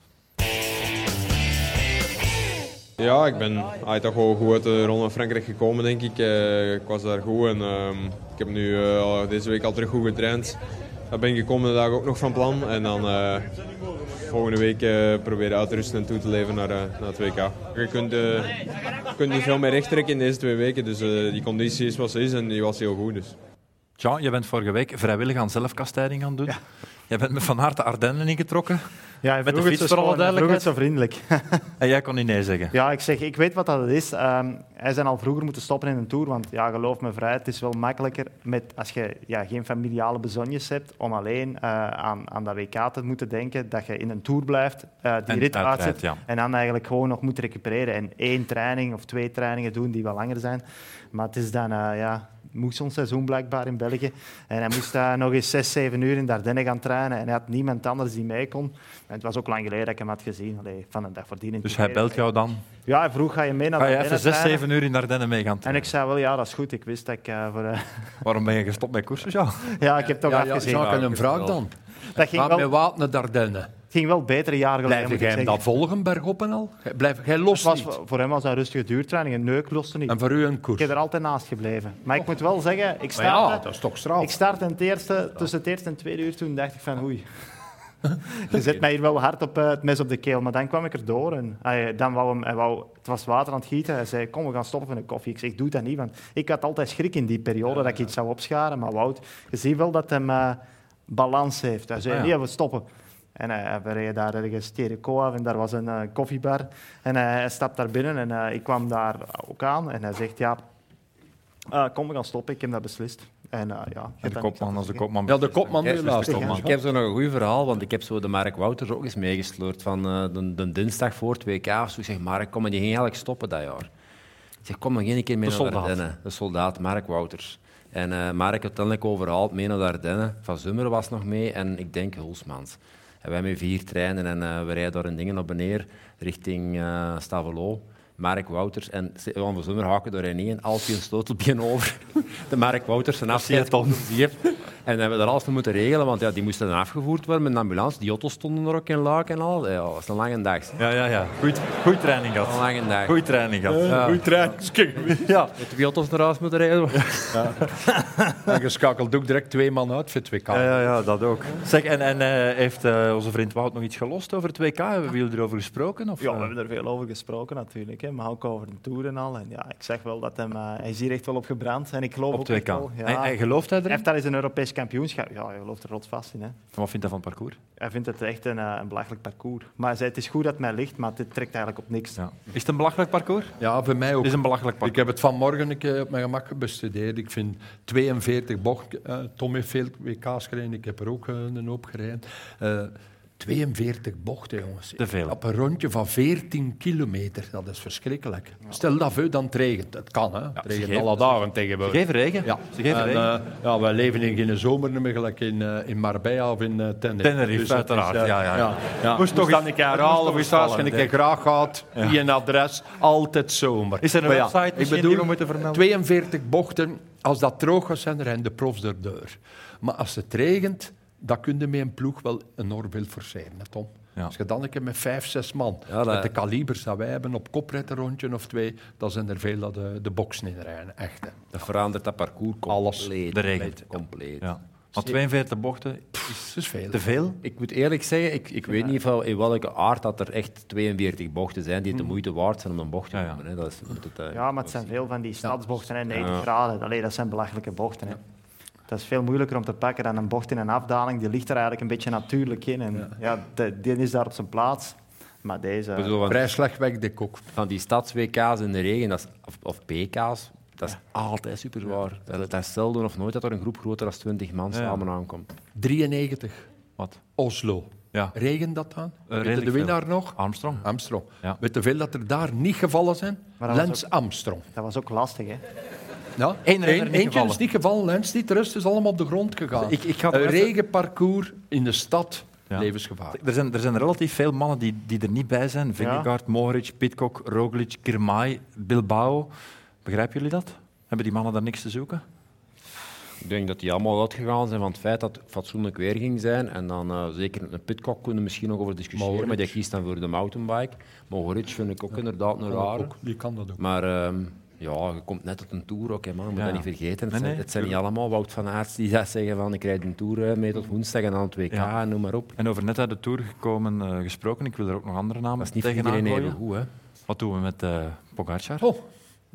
Ja, ik ben ah, toch wel goed uit de Ronde van Frankrijk gekomen, denk ik. Eh, ik was daar goed en ehm, ik heb nu eh, al deze week al terug goed getraind. Dat ben ik de komende dagen ook nog van plan. En dan eh, volgende week eh, proberen uit te rusten en toe te leven naar, eh, naar het WK. Je kunt, eh, je kunt niet veel meer rechttrekken in deze twee weken. Dus eh, die conditie is wat ze is en die was heel goed. Dus. Jean, je bent vorige week vrijwillig aan zelfkastijding gaan doen. Jij bent met Van Aert de Ardennen ingetrokken Ja, Met de vroeg het fiets zo voor alle schoon, hij vroeg het zo vriendelijk. en jij kon niet nee zeggen. Ja, ik zeg, ik weet wat dat is. Ehm, hij zijn al vroeger moeten stoppen in een tour, want ja, geloof me vrij, het is wel makkelijker met, als je ja, geen familiale bezonjes hebt, om alleen eh, aan, aan dat WK te moeten denken, dat je in een tour blijft, eh, die En rit uitrijdt, uitzet ja. en dan eigenlijk gewoon nog moet recupereren en één training of twee trainingen doen die wat langer zijn. Maar het is dan, eh ja, moessonseizoen blijkbaar in België. En hij moest daar nog eens zes, zeven uur in Ardennen gaan trainen en hij had niemand anders die mee kon. En het was ook lang geleden dat ik hem had gezien, Allee, van een dag voordien. in Dus het hij verkeer. belt jou dan. Ja, hij vroeg, ga je mee naar Ga je Ah, Ardennen even zes, trainen? zeven uur in de Ardennen mee gaan En ik trainen? zei wel, ja, dat is goed. Ik wist dat ik eh, voor... eh, Waarom ben je gestopt met koersen, Jean? ja, ik heb toch Ja, ja, afgezien. Jacques, en een vraag dan. dat ging Gaat met wel, Wout naar Dardenne. ging wel beter een jaar geleden, Blijf moet ik jij hem zeggen. dan volgen, berg op en al? Gij- Blijf jij los Het was, niet? voor hem was dat een rustige duurtraining. Een neuk loste niet. En voor u een Ik koers? heb er altijd naast gebleven. Maar ik moet wel zeggen, ik Maar ja, startte, dat is toch straf. ik startte in het eerste, tussen het eerste en het tweede uur. Toen dacht ik van, oei. Je zet mij hier wel hard op eh, het mes op de keel, maar dan kwam ik erdoor. En hij, dan wou hem, hij wou, het was water aan het gieten. Hij zei, kom, we gaan stoppen voor een koffie. Ik zeg, doe dat niet, want ik had altijd schrik in die periode dat ik iets zou opscharen. Maar Wout, je ziet wel dat hem eh, balans heeft. Hij zei, Ah, ja. nee, we stoppen. En eh, we reden daar ergens Terico af en daar was een eh, koffiebar. En eh, hij stapt daar binnen en eh, ik kwam daar ook aan. En hij zegt, ja, eh, kom, we gaan stoppen. Ik heb dat beslist. En eh, ja, je hebt En daar niks de kopman aan te als de zeggen. kopman. Ja, de kopman Kerst nu is de laatst. kopman. Ik heb zo nog een goed verhaal, want ik heb zo de Mark Wouters ook eens meegesleurd van eh, de, de dinsdag voor het WK. Of zo. Ik zeg, Mark, kom, en die ging eigenlijk stoppen dat jaar. Ik zeg, kom nog één keer mee De naar de soldaat. Ardennen. De soldaat, Mark Wouters. En eh, Mark uiteindelijk overhaald mee naar de Ardennen. Van Zummer was nog mee en ik denk Hulsmans. En wij met vier treinen en eh, we rijden daar in dingen op en neer richting eh Stavelo. Mark Wouters en Se- Johan van Zummer haken door in één. Alfie een sleutelbeen over. De Mark Wouters zijn afscheid komt. Zie je. En hebben we daar alles voor moeten regelen, want ja, die moesten dan afgevoerd worden met een ambulance. Die auto's stonden er ook in luik en al. Ja, dat was een lange dag. Ja, ja, ja. Goed, goed training Een gehad. lange dag. Goed training gehad. Oh, Ja. Ja. Met twee auto's naar huis moeten rijden. En je schakelt ook direct twee man uit voor het WK. Ja, ja, ja, dat ook. Zeg, en, en eh, heeft eh, onze vriend Wout nog iets gelost over het WK? Hebben jullie erover gesproken? Of, Ja, eh? we hebben er veel over gesproken natuurlijk, hè, maar ook over de Tour en al. En ja, ik zeg wel dat hem, eh, hij is hier echt wel op gebrand en ik geloof op ook het WK. echt wel, Ja. En, en gelooft hij Hij erin? heeft daar eens een Europees kampioenschap. Ja, hij gelooft er rotvast in. Hè. Wat vindt hij van het parcours? Hij vindt het echt een, eh, een belachelijk parcours. Maar hij zei, het is goed dat het mij ligt, maar dit trekt eigenlijk op niks. Ja. Is het een belachelijk parcours? Ja, voor Dus mij ook. Het is een belachelijk Ik parcours. heb het vanmorgen een keer op mijn gemak bestudeerd. Ik vind 42 bochten. eh, Tom heeft veel WK's gereden, ik heb er ook eh, een hoop gereden. Eh, 42 bochten, jongens. Te veel. Op een rondje van 14 kilometer, dat is verschrikkelijk. Stel dat voor, dan het regent. Het kan, hè. het regent geven- alle dagen Ze tegenwoordig. geven regen. Ja. Ze geven En, regen. eh, ja, wij leven in geen zomer meer, gelijk in, eh, in Marbella of in eh, Tenerife. Tenerife, het is, uiteraard. eh, Ja, ja, ja. ja. Moest Moest toch toch dan eens- een keer het moest toch herhalen, eens moest als je vallen, een keer graag gaat, die een adres, altijd zomer. Is er een Maar website misschien die we moeten vermelden? 42 bochten, als dat droog gaat, zijn er en de profs er deur. Maar als het regent, dan kun je met een ploeg wel enorm veel forceren, hè, Tom. Ja. Als je dan een keer met vijf, zes man, Ja, dat- met de kalibers dat wij hebben, op koprit een rondje of twee, dan zijn er veel dat eh, de, de boksen in rijden, echt. hè. Dat verandert dat parcours compleet. Alles. De regen. Compleet. Ja. Maar 42 bochten, Dat is veel. te veel. Ik moet eerlijk zeggen, ik, ik weet niet van in welke aard dat er echt 42 bochten zijn die het de moeite waard zijn om een bocht te Ja, ja. nemen. Hè. Dat is, je moet het, eh, Ja, maar het zijn veel van die stadsbochten, hè, 90 graden. Allee, dat zijn belachelijke bochten. Hè. Dat is veel moeilijker om te pakken dan een bocht in een afdaling. Die ligt er eigenlijk een beetje natuurlijk in. En, ja. de- die is daar op zijn plaats. Maar ik deze... bedoel, van, Vrij slecht wegdek ook. van die stads-WK's in de regen, dat is, of, of PK's, dat is altijd super zwaar. Dat, dat is zelden of nooit dat er een groep groter dan 20 man samen aankomt. 93, Wat? Oslo. Ja. Regen dat dan? Weet je de redelijk winnaar nog? Armstrong. Armstrong. Ja. Weet je veel dat er daar niet gevallen zijn? Maar dat was Lens Armstrong. Dat was ook lastig, hè. Ja? Eén renner Eén- niet eentje gevallen. Dus is niet gevallen, Lens niet. De rest is allemaal op de grond gegaan. Ik- ik ga een er even- regenparcours in de stad, Ja. levensgevaar. Er zijn, er zijn relatief veel mannen die, die er niet bij zijn. Vingegaard, Mohoric, Pitcock, Roglic, Kirmai, Bilbao. Begrijpen jullie dat? Hebben die mannen daar niks te zoeken? Ik denk dat die allemaal uitgegaan zijn van het feit dat het fatsoenlijk weer ging zijn. En dan eh, zeker een pitcock kunnen we misschien nog over discussiëren, maar die kiest dan voor de mountainbike. Mohoric vind ik ook inderdaad een rare. Ook, die kan dat ook. Maar ehm, ja, je komt net uit een tour ook, hè, man. Je moet Ja. dat niet vergeten. Nee, Het, zijn, nee. het zijn niet allemaal Wout van Aerts die dat zeggen van ik rijd een tour eh, mee tot woensdag en dan het WK Ja. en noem maar op. En over net uit de Tour gekomen eh, gesproken, ik wil er ook nog andere namen Dat is niet voor tegenaan iedereen gooien. even goed, hè. Wat doen we met eh Pogacar? Oh,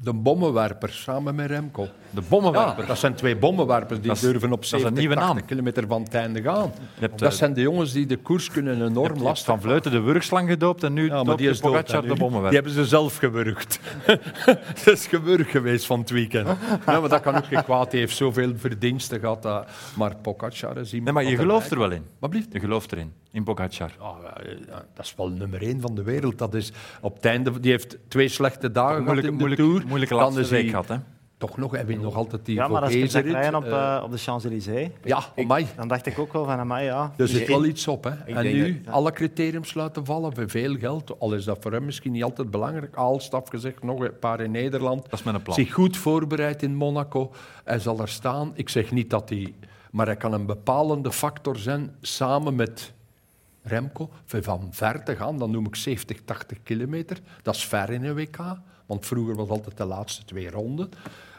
de bommenwerper samen met Remco. De bommenwerper. Ja, dat zijn twee bommenwerpers die Dat is- durven op is een 70, nieuwe naam. 80 kilometer van het einde gaan. hebt, dat eh, zijn de jongens die de koers kunnen Je hebt- enorm je hebt lastig Van Vleuten de wurgslang gedoopt en nu Ja, maar doopt die is dood, Pogacar hè, de nu. Die bommenwerper. hebben ze zelf gewurgd. dat is gewurg geweest van het weekend. Ja, maar dat kan ook geen kwaad. Die heeft zoveel verdiensten gehad. dat- maar Pogacar is iemand... Nee, maar je dat gelooft er erbij- wel in. Wat blieft? Je gelooft erin, in Pogacar. Ja, ja, dat is wel nummer één van de wereld. Dat is op het einde, die heeft twee slechte dagen gehad Moeilijke, in de moeilijke, Tour. moeilijke Dan laatste is hij week gehad, hè? Toch nog, heb je nog altijd die Ja, maar als je Vogezen zag rijden op, rit, eh, eh, op de Champs-Élysées, Ja, amai. dan dacht ik ook wel van, amai, ja. Dus Er zit wel iets op. Hè. En denk nu alle criteriums laten vallen voor veel geld. Al is dat voor hem misschien niet altijd belangrijk. Aalstaf gezegd, nog een paar in Nederland. Dat is mijn plan. Zich goed voorbereid in Monaco. Hij zal er staan. Ik zeg niet dat hij... Maar hij kan een bepalende factor zijn samen met Remco. Voor Van ver te gaan, dan noem ik 70, 80 kilometer. Dat is ver in een WK. Want vroeger was altijd de laatste twee ronden.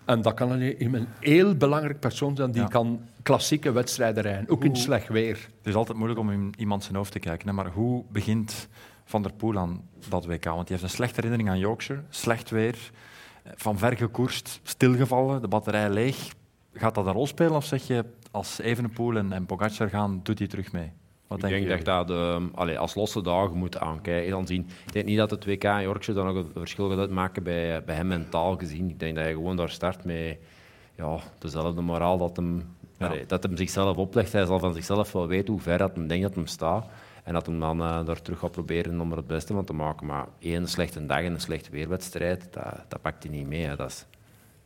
En dat kan alleen in een heel belangrijk persoon zijn die Ja. kan klassieke wedstrijden rijden, ook in slecht weer. Het is altijd moeilijk om in iemand zijn hoofd te kijken. Hè? Maar hoe begint Van der Poel aan dat WK? Want die heeft een slechte herinnering aan Yorkshire. Slecht weer, eh, van ver gekoerst, stilgevallen, de batterij leeg. Gaat dat een rol spelen of zeg je, als Evenepoel en, en Pogacar gaan, doet hij terug mee? Wat ik denken denk dat je jullie? dat ehm, allee, als losse dagen moet aankijken. Dan zien. Ik denk niet dat het WK in Yorkshire dan nog een verschil gaat uitmaken bij, bij hem mentaal gezien. Ik denk dat hij gewoon daar start met ja, dezelfde moraal dat hem, Ja. allee, dat hem zichzelf oplegt. Hij zal van zichzelf wel weten hoe ver dat hem denkt dat hem staat. En dat hem dan eh, daar terug gaat proberen om er het beste van te maken. Maar één slechte dag en een slechte weerwedstrijd, dat, dat pakt hij niet mee. hè. Dat, is,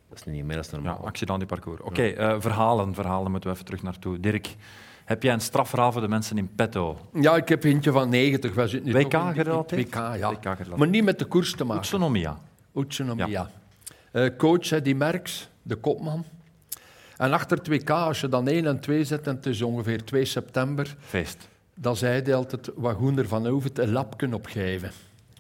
dat is niet meer als Ja, normaal. actie dan die parcours. Oké, eh, verhalen, verhalen moeten we even terug naartoe. Dirk, heb jij een strafverhaal voor de mensen in petto? Ja, ik heb eentje van 90. Wij zitten nu WK toch in- in- gerelateerd? WK, ja. WK gerelateerd. Maar niet met de koers te maken. Utsunomiya. Utsunomiya. Ja. Eh, coach, hè, die Merks, de kopman. En achter het WK, als je dan 1 en 2 zet, en het is ongeveer 2 september, Feest. dan zei hij altijd, wat Goender van Hovet een lapken opgeven.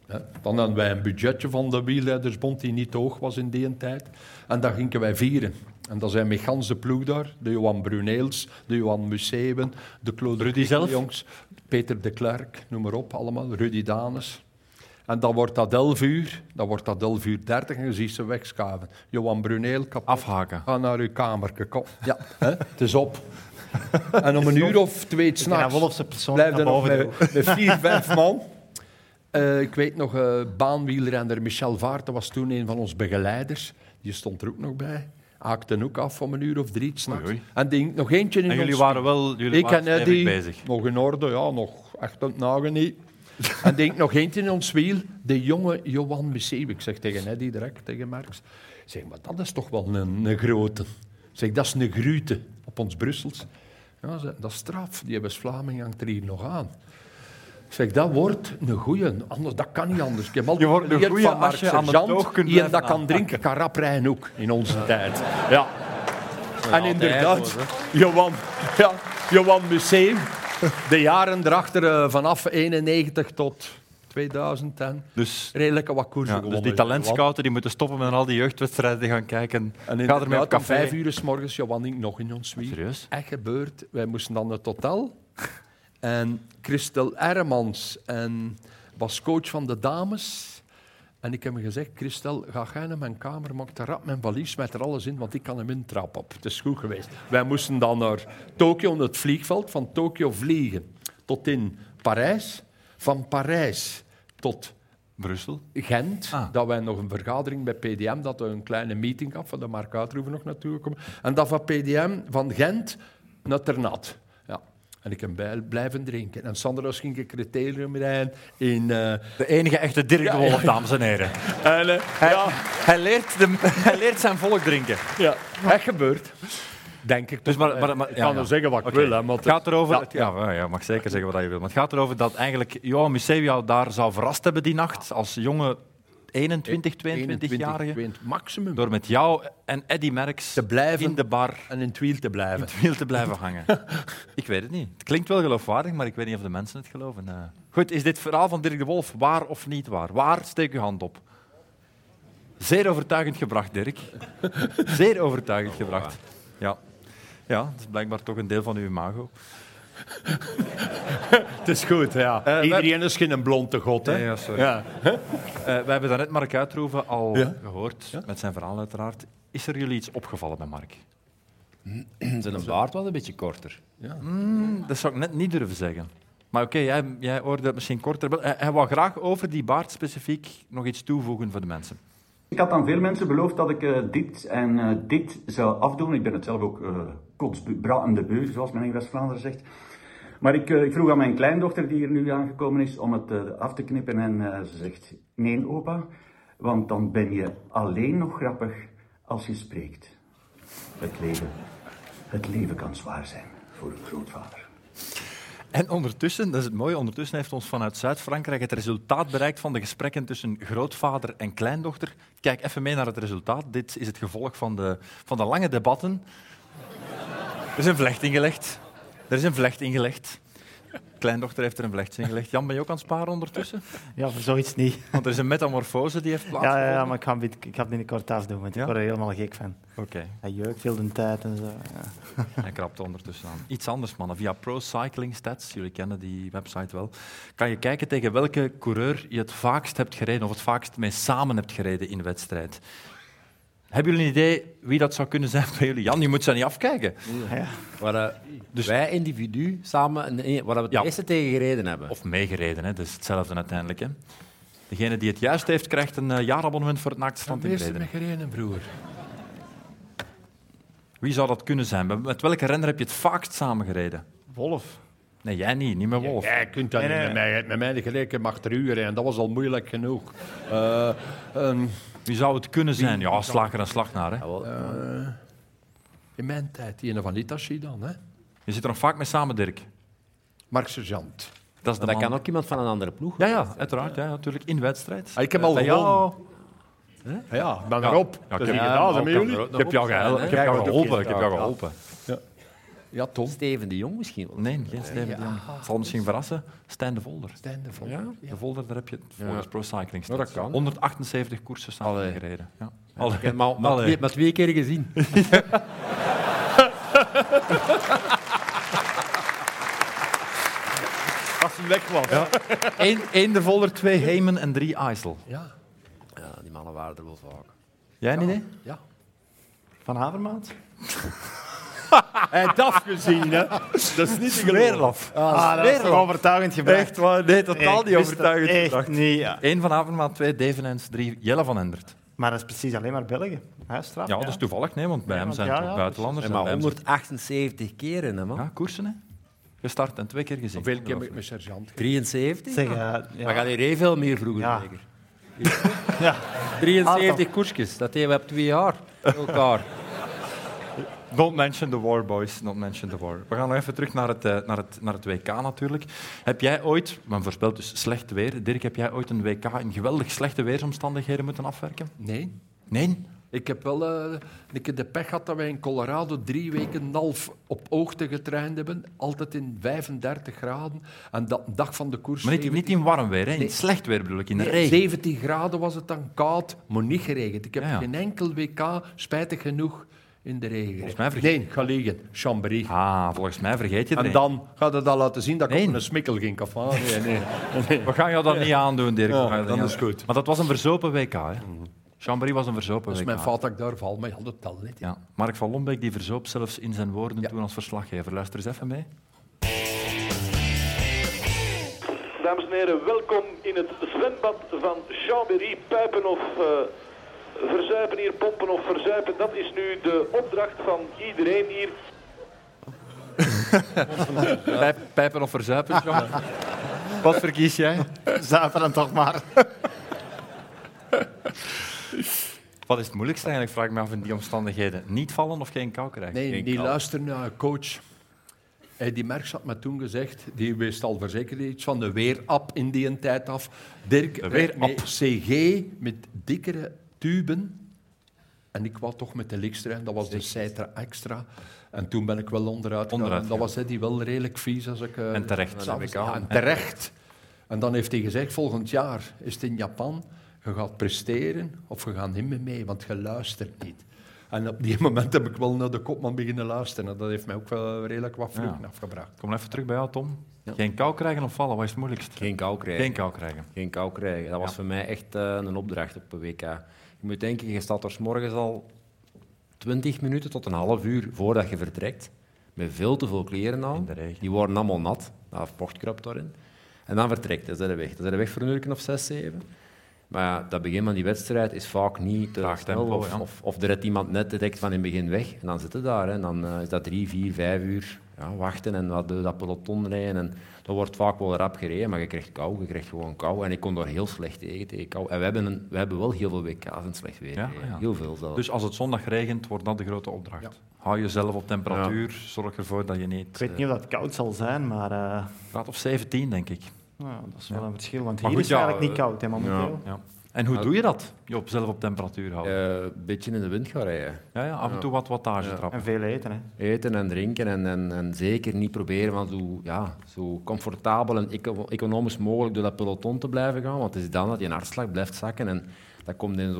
Hè, Dan hadden wij een budgetje van de wielrijdersbond die niet hoog was in die tijd. En dat gingen wij vieren. En dan zijn we gans de ploeg daar. De Johan Bruneels, de Johan Museven, de Claude Rudy zelf? Jongs, Peter de Klerk, noem maar op allemaal. Rudy Danes. En dan wordt dat 11 uur, dan wordt dat 11 uur 30 en je ziet ze wegschaven. Johan Bruneel kapot. Afhaken. Ga naar uw kamerke, kom. Ja, hè, het is op. En om een uur of twee Ik ga s'nachts wel op zijn persoon blijf naar er nog boven met, doen. met vier, vijf man. Eh, ik weet nog, eh baanwielrenner Michel Vaarten was toen een van ons begeleiders. Die stond er ook nog bij. Haakte ook af om een uur of drie 's nachts. Oei, oei. En die hing nog eentje in En ons jullie waren wel jullie ik waren en eh, stevig Eddy, bezig. nog in orde, ja, nog echt aan het nagen niet. en denk nog eentje in ons wiel, de jonge Johan Museeuw. Ik zeg tegen Eddy direct, tegen Marx. Ik Zeg, maar dat is toch wel een, een grote. Ik Zeg, dat is een gruute op ons Brussels. Ja, ze- dat is straf, die hebben Vlaming hangt er hier nog aan. Ik zeg, dat wordt een goeie, anders, dat kan niet anders. Ik heb altijd Je wordt een geleerd goeie van Marc als je aan het Sergeant, oog kunt die dat blijven kan drinken, kan rap rijden ook, in onze tijd. Ja. En altijd inderdaad, Johan, ja, Johan Museum. De jaren erachter, eh, vanaf 91 tot 2010, Dus, redelijk wat koersen ja, dus gewonnen. die Johan. talentscouten die moeten stoppen met naar al die jeugdwedstrijden te gaan kijken. En Ga ermee op inderdaad, om café. vijf uur s morgens, Johan hing nog in ons wiel. Serieus? Echt gebeurd. Wij moesten dan naar het hotel. En Christel Ermans en was coach van de dames. En ik heb hem gezegd, Christel, ga jij naar mijn kamer, maak daar rap mijn valies, smijt er alles in, want ik kan hem intrap op. Het is goed geweest. Wij moesten dan naar Tokio, naar het vliegveld, van Tokio vliegen tot in Parijs. Van Parijs tot Brussel. Gent, Ah. dat wij nog een vergadering bij PDM, dat we een kleine meeting hadden, van de Mark Uitroeven nog naartoe komen. En dat van PDM, van Gent naar Ternat. Ja. En ik heb bij- blijven drinken. En Sandra ging ik criterium rijden in... eh, De enige echte Dirk de Ja, Wolf, ja. dames en heren. en, eh, Hij, hij, leert de, hij leert zijn volk drinken. ja, echt gebeurd. Denk ik. Dus toch. maar, maar, maar, ik ja, kan ja. er zeggen wat ik Oké. wil, hè, maar Het gaat erover, Ja. het- ja. Ja, je mag zeker zeggen wat je wil, maar het gaat erover dat eigenlijk Johan Museeuw jou daar zou verrast hebben die nacht als jonge 21, 22-jarige. 22, maximum. Door met jou en Eddy Merckx Te blijven. in de bar En in het wiel te blijven. het wiel te blijven hangen. ik weet het niet. Het klinkt wel geloofwaardig, maar ik weet niet of de mensen het geloven. Eh, Goed, is dit verhaal van Dirk de Wolf waar of niet waar? Waar? Steek uw hand op. Zeer overtuigend gebracht, Dirk. Zeer overtuigend gebracht. Ja. ja, dat is blijkbaar toch een deel van uw imago. Het is goed, ja. Iedereen is geen blonde god, hè. Nee, Eh, ja, sorry. Ja. Eh, we hebben daarnet Mark Uitroeven al Ja. gehoord, met zijn verhaal uiteraard. Is er jullie iets opgevallen bij Mark? Zijn baard was een beetje korter. Dat zou ik net niet durven zeggen. Maar oké, jij, jij hoorde het misschien korter. Wel, Hij, hij wou graag over die baard specifiek nog iets toevoegen voor de mensen. Ik had aan veel mensen beloofd dat ik eh, dit en eh, dit zou afdoen. Ik ben het zelf ook eh kotsbu- bra en de beu, zoals men in West-Vlaanderen zegt. Maar ik, eh, ik vroeg aan mijn kleindochter, die hier nu aangekomen is, om het eh, af te knippen. En eh, ze zegt, nee opa, want dan ben je alleen nog grappig als je spreekt. Het leven, het leven kan zwaar zijn voor een grootvader. En ondertussen, dat is het mooie, ondertussen heeft ons vanuit Zuid-Frankrijk het resultaat bereikt van de gesprekken tussen grootvader en kleindochter. Kijk even mee naar het resultaat. Dit is het gevolg van de, van de lange debatten. Er is een vlecht ingelegd. Er is een vlecht ingelegd. Kleindochter heeft er een vlechtje in gelegd. Jan, ben je ook aan het sparen ondertussen? Ja, voor zoiets niet. Want er is een metamorfose die heeft Ja, plaatsgevonden. ja, ja, maar ik ga, bit- ik ga het binnenkort afdoen, want Ja? ik word er helemaal gek van. Oké, Hij jeukt heel de tijd en zo. Ja. hij krapt ondertussen aan. Iets anders, mannen. Via Pro Cycling Stats, jullie kennen die website wel, kan je kijken tegen welke coureur je het vaakst hebt gereden of het vaakst mee samen hebt gereden in wedstrijd. Hebben jullie een idee wie dat zou kunnen zijn bij jullie? Jan, je moet ze niet afkijken. Waar eh, wij individu samen nee, waar we het Dus- Ja. eerste tegen gereden hebben. Of meegereden, hè. dat is hetzelfde uiteindelijk. Hè. Degene die het juist heeft, krijgt een eh, jaarabonnement voor het naaktstrand in Eerst Vreden. met gereden, broer. Wie zou dat kunnen zijn? Met welke renner heb je het vaakst samengereden? Wolf. Nee, jij niet, niet met Wolf. Jij kunt dat niet met mij. Je hebt Met mij de gelijke macht er uren en dat was al moeilijk genoeg. Eh, ehm, Wie zou het kunnen zijn? Ja, slager en slagnaar. Hè. in mijn tijd, die ene van Litachi dan, hè? Je zit er nog vaak mee samen, Dirk. Mark Sergeant. Dat is de Maar dat man. kan ook iemand van een andere ploeg. Ja, ja, uiteraard. Ja, natuurlijk. In wedstrijd. Ah, ik heb al Bij gewonnen. jou- Ja, dan erop. Ja, dat ik is heb- niet gedaan, hè, met jullie. Ik heb jou geholpen. Ik heb jou geholpen. Ik heb jou geholpen. Ja, Tom. Steven de Jong misschien wel. Nee, geen Steven de Jong. Het zal misschien verrassen. Stijn de Volder. Stijn de Vlot. Ja, de Volder, daar heb je het volgens Pro Cycling Ja, dat Stats. kan. 178 koersen samen Allee. gereden. Ja. Ik heb hem al- maar, Allee. twee, maar twee keer gezien. Als hij weg was. Eén, één de Volder, twee Heyman en drie IJssel. Ja, Ja, die mannen waren er wel vaak. Jij een idee? ja. Van Havermaat? Hij heeft afgezien, hè? Dat is niet te geloven. Smeerlaf. Ah, dat is toch overtuigend gebracht. Echt waar? Nee, totaal Ik niet wist dat overtuigend. Echt niet, ja. Eén van Avermaat, twee Devenens, drie Jelle van Endert. Maar dat is precies alleen maar België. Huisstraf. Ja, dat is toevallig, nee, want bij hem want zijn ja, het ook ja, buitenlanders. En en maar bij hem zijn- 178 keren, hè, man. Ja, koersen, hè. Gestart en twee keer gezien. Hoeveel keer heb ik met Sergeant gedaan? 73? Zeg, eh, ja. Maar gaan hier heel veel meer vroeger, Ja. zeker? Ja. 73 koersjes, dat deden we op twee jaar. met elkaar. Don't mention the war, boys. Don't mention the war. We gaan nog even terug naar het, eh, naar het, naar het WK natuurlijk. Heb jij ooit, men voorspelt dus slecht weer, Dirk, heb jij ooit een WK in geweldig slechte weersomstandigheden moeten afwerken? Nee. Nee. Ik heb wel eh, een keer de pech gehad dat wij in Colorado drie weken en een half op oogte getraind hebben. Altijd in 35 graden. En dat een dag van de koers... Maar niet, 17 niet in warm weer, hè. in Nee. slecht weer bedoel ik, in de Nee, regen. 17 graden was het dan koud, maar niet geregend. Ik heb Ja, ja. geen enkel WK, spijtig genoeg, in de regen. Volgens mij vergeet- nee, ik ga liggen. Chambéry. Ah, volgens mij vergeet je het. en dan gaat het al laten zien dat ik Nee. op een smikkel ging. Of, ah, nee, nee. We gaan jou dat niet aandoen, Dirk. We Ja, gaan je dat dan niet is aandoen. goed. Maar dat was een verzopen WK. Hè? Chambéry was een verzopen Dat is WK. mijn fout dat ik daar val, maar je had het al niet. Ja. Mark van Lombeek die verzoop zelfs in zijn woorden toen als verslaggever. Luister eens even mee. Dames en heren, welkom in het zwembad van Chambéry. Puipen of eh, verzuipen hier, pompen of verzuipen. Dat is nu de opdracht van iedereen hier. Pijp- Pijpen of verzuipen, Jean? Wat verkies jij? Zuiver dan toch maar. Wat is het moeilijkste eigenlijk? Vraag ik me af in die omstandigheden. Niet vallen of geen kou krijgen? Nee, Geen die kou. luisteren naar een coach. Hey, die Merks had me toen gezegd, die wist al verzekerd iets van de weerap in die een tijd af. Dirk De reed weerap. met CG met dikkere tuben. En ik wou toch met de Likstra, en dat was de Cetra Extra. En toen ben ik wel onderuit gegaan. Onderuit En gegaan. dat was hey, die wel redelijk vies. Als ik, eh, En terecht. s'avonds- ja, en terecht. En dan heeft hij gezegd, volgend jaar is het in Japan. Je gaat presteren of je gaat niet meer mee, want je luistert niet. En op die moment heb ik wel naar de kopman beginnen luisteren. En dat heeft mij ook wel redelijk wat vroeg Ja. afgebracht. Kom even terug bij jou, Tom. Geen kou krijgen of vallen, wat is het moeilijkst? Geen kou krijgen. Geen kou krijgen. Geen kou krijgen. Dat was voor mij echt eh, een opdracht op een WK. Je moet denken, je staat er 's morgens al 20 minuten tot een half uur voordat je vertrekt. Met veel te veel kleren aan. In de regen. Die worden allemaal nat. Daar vochtkrap daarin. En dan vertrekt hij. Dan zijn ze weg. Dan zijn ze weg voor een uur of zes, zeven. Maar ja, dat begin van die wedstrijd is vaak niet te Laag snel. tempo, of, ja. of, of er redt iemand net direct van in het begin weg. En dan zitten daar. Hè. En dan eh, is dat drie, vier, vijf uur ja, wachten en wat, door dat peloton rijden. En dat wordt vaak wel rap gereden, maar je krijgt kou. Je krijgt gewoon kou. En ik kon daar heel slecht tegen, tegen kou. En we hebben, een, we hebben wel heel veel WK's in slecht weer. Ja, gereden. ja. Heel veel zelfs. Dus als het zondag regent, wordt dat de grote opdracht. Hou jezelf op temperatuur, zorg ervoor dat je Ik niet... weet niet of dat koud zal zijn, maar eh, Graad of 17, denk ik. nou, dat is wel een verschil. Want Maar hier goed, is het ja, eigenlijk niet eh, koud hè, momenteel. Ja. En hoe doe je dat? Job, zelf op temperatuur houden. Eh, Een beetje in de wind gaan rijden. Ja, ja, af en toe wat wattage trappen. En veel eten, hè. Eten en drinken en, en, en zeker niet proberen van zo, ja, zo comfortabel en eco- economisch mogelijk door dat peloton te blijven gaan. Want het is dan dat je hartslag blijft zakken en dat komt in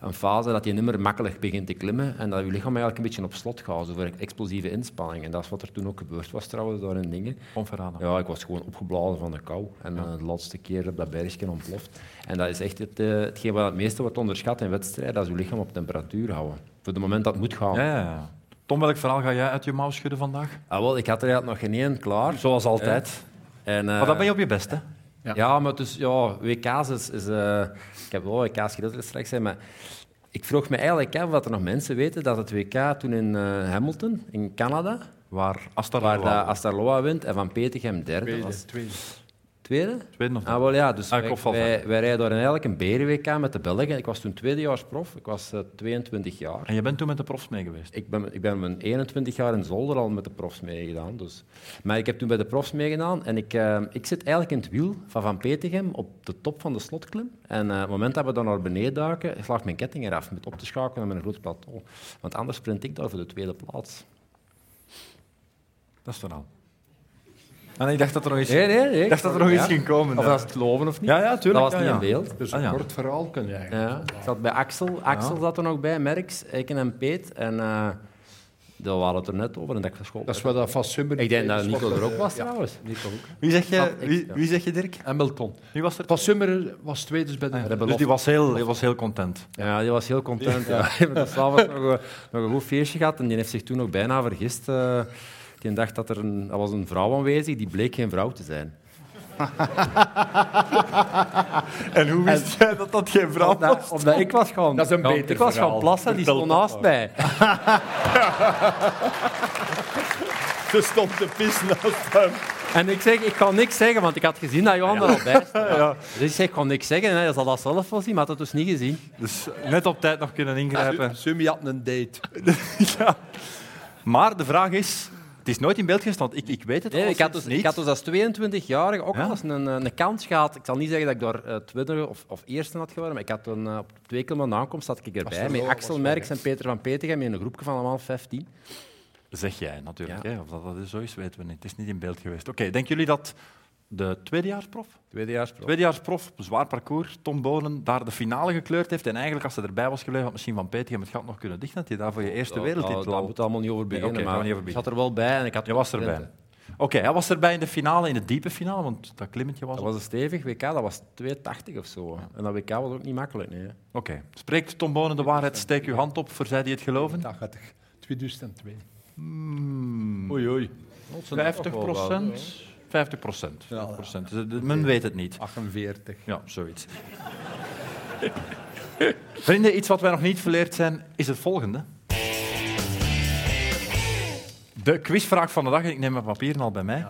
zo'n fase dat je niet meer makkelijk begint te klimmen en dat je lichaam eigenlijk een beetje op slot gaat, zo voor explosieve inspanning. En dat is wat er toen ook gebeurd was trouwens daar in dingen. Ponferrada. Ja, ik was gewoon opgeblazen van de kou. En eh, de laatste keer op dat bergje ontploft. En dat is echt het, eh, hetgeen wat het meeste wordt onderschat in wedstrijden, dat is je lichaam op temperatuur houden. Voor het moment dat het moet gaan. Ja, ja, ja. Tom, welk verhaal ga jij uit je mouw schudden vandaag? Ah, wel, ik had er eigenlijk nog geen één klaar. Zoals altijd. En, eh, maar dan ben je op je best, hè? ja. ja, maar dus, ja, WK's is... is, eh, ik heb wel WK's gedeeld straks, hè, maar ik vroeg me eigenlijk af wat er nog mensen weten dat het WK toen in eh, Hamilton, in Canada, Waar Asta waar Raoul- dat Astarloa wint en Van Petegem derde was. Tweede. Tweede? Tweede of Ah, wel ja, dus Ah, ik wij, opval wij, wij rijden daar eigenlijk een beren-WK met de Belgen. Ik was toen tweedejaars prof, ik was eh, 22 jaar. En je bent toen met de profs mee geweest. Ik ben, ik ben mijn 21 jaar in Zolder al met de profs meegedaan. Dus. Maar ik heb toen bij de profs meegedaan en ik, eh, ik zit eigenlijk in het wiel van Van Petegem op de top van de slotklim. En eh, op het moment dat we dan naar beneden duiken, slaagt mijn ketting eraf met op te schakelen met een groot plateau. Want anders sprint ik daar voor de tweede plaats. Dat is het verhaal. En ik dacht dat er nog iets... Nee, nee, nee. Ik dacht dat er nog iets Ja. ging komen. Of ja. dat ze het geloven of niet. Ja, ja, tuurlijk, Dat was ja, niet ja. in beeld. Dus Ah, een ja. kort verhaal kun je eigenlijk. Ja, ik zat bij Axel. Axel zat er nog bij, Merks, Eiken en Peet. En eh daar waren we het er net over. En dat ik was Dat is wat dat vast Summer... Ik denk dat Nico er ook was Ja, trouwens. Nico ook. Wie zeg je, Dat ik- wie, ja. wie zeg je Dirk? Hamilton. Wie was er? Van Summer was tweede dus bij de... Rebel Dus die was heel, die was heel content. Ja, die was heel content. Ja. Ja. De s'avonds nog, een- nog een goed feestje gehad en die heeft zich toen nog bijna vergist. eh. die dacht dat er een, er was een vrouw aanwezig, die bleek geen vrouw te zijn. En hoe wist jij dat dat geen vrouw Omdat, omdat ik was gewoon... Dat is een gaan- beter Ik was verhaal. gaan plassen, die stond naast mij. Ze stond te pis naast hem. En ik zeg, ik kan niks zeggen, want ik had gezien dat Johan er al bij stond. Dus ik zeg, ik kan niks zeggen. En hij zal dat zelf wel zien, maar had het dus niet gezien. Dus net op tijd nog kunnen ingrijpen. Summy had een date. ja. Maar de vraag is... Het is nooit in beeld geweest, want ik, ik weet het Nee, ik, had dus, niet. ik had dus als 22-jarige ook Ja. al eens een, eh, een kans gehad. Ik zal niet zeggen dat ik daar eh, tweede of, of eerste had geworden, maar ik had toen, eh, op twee kilometer aankomst zat ik erbij. Met Axel Merks en Peter van Petegem in een groepje van allemaal 15. dus- Zeg jij natuurlijk. Ja. Hè? Of dat, dat is, zo is, weten we niet. Het is niet in beeld geweest. Oké, denken jullie dat de tweedejaarsprof, Tweedejaarsprof. tweedejaarsprof, zwaar parcours, Tom Bolen, daar de finale gekleurd heeft en eigenlijk als ze erbij was gebleven, had misschien Van Petegem het gat nog kunnen dichten, had hij daar voor je eerste Oh, wereldtitel daar al moet allemaal niet over beginnen, oké, gaan we maar niet over ik beginnen. zat er wel bij en ik had Je was punten. erbij. Oké, hij was erbij in de finale, in de diepe finale, want dat klimmetje was... Dat op. was een stevig WK, dat was 280 of zo. En dat WK was ook niet makkelijk, nee. Oké, spreekt Tom Bonen de waarheid, steek uw hand op, verzij die het geloven. Dat gaat 2002. Oei, oei. 50 procent? 50 procent. Dus, eh, Men weet het niet. 48. Ja, zoiets. Vrienden, iets wat wij nog niet verleerd zijn, is het volgende. De quizvraag van de dag, en ik neem mijn papieren al bij mij.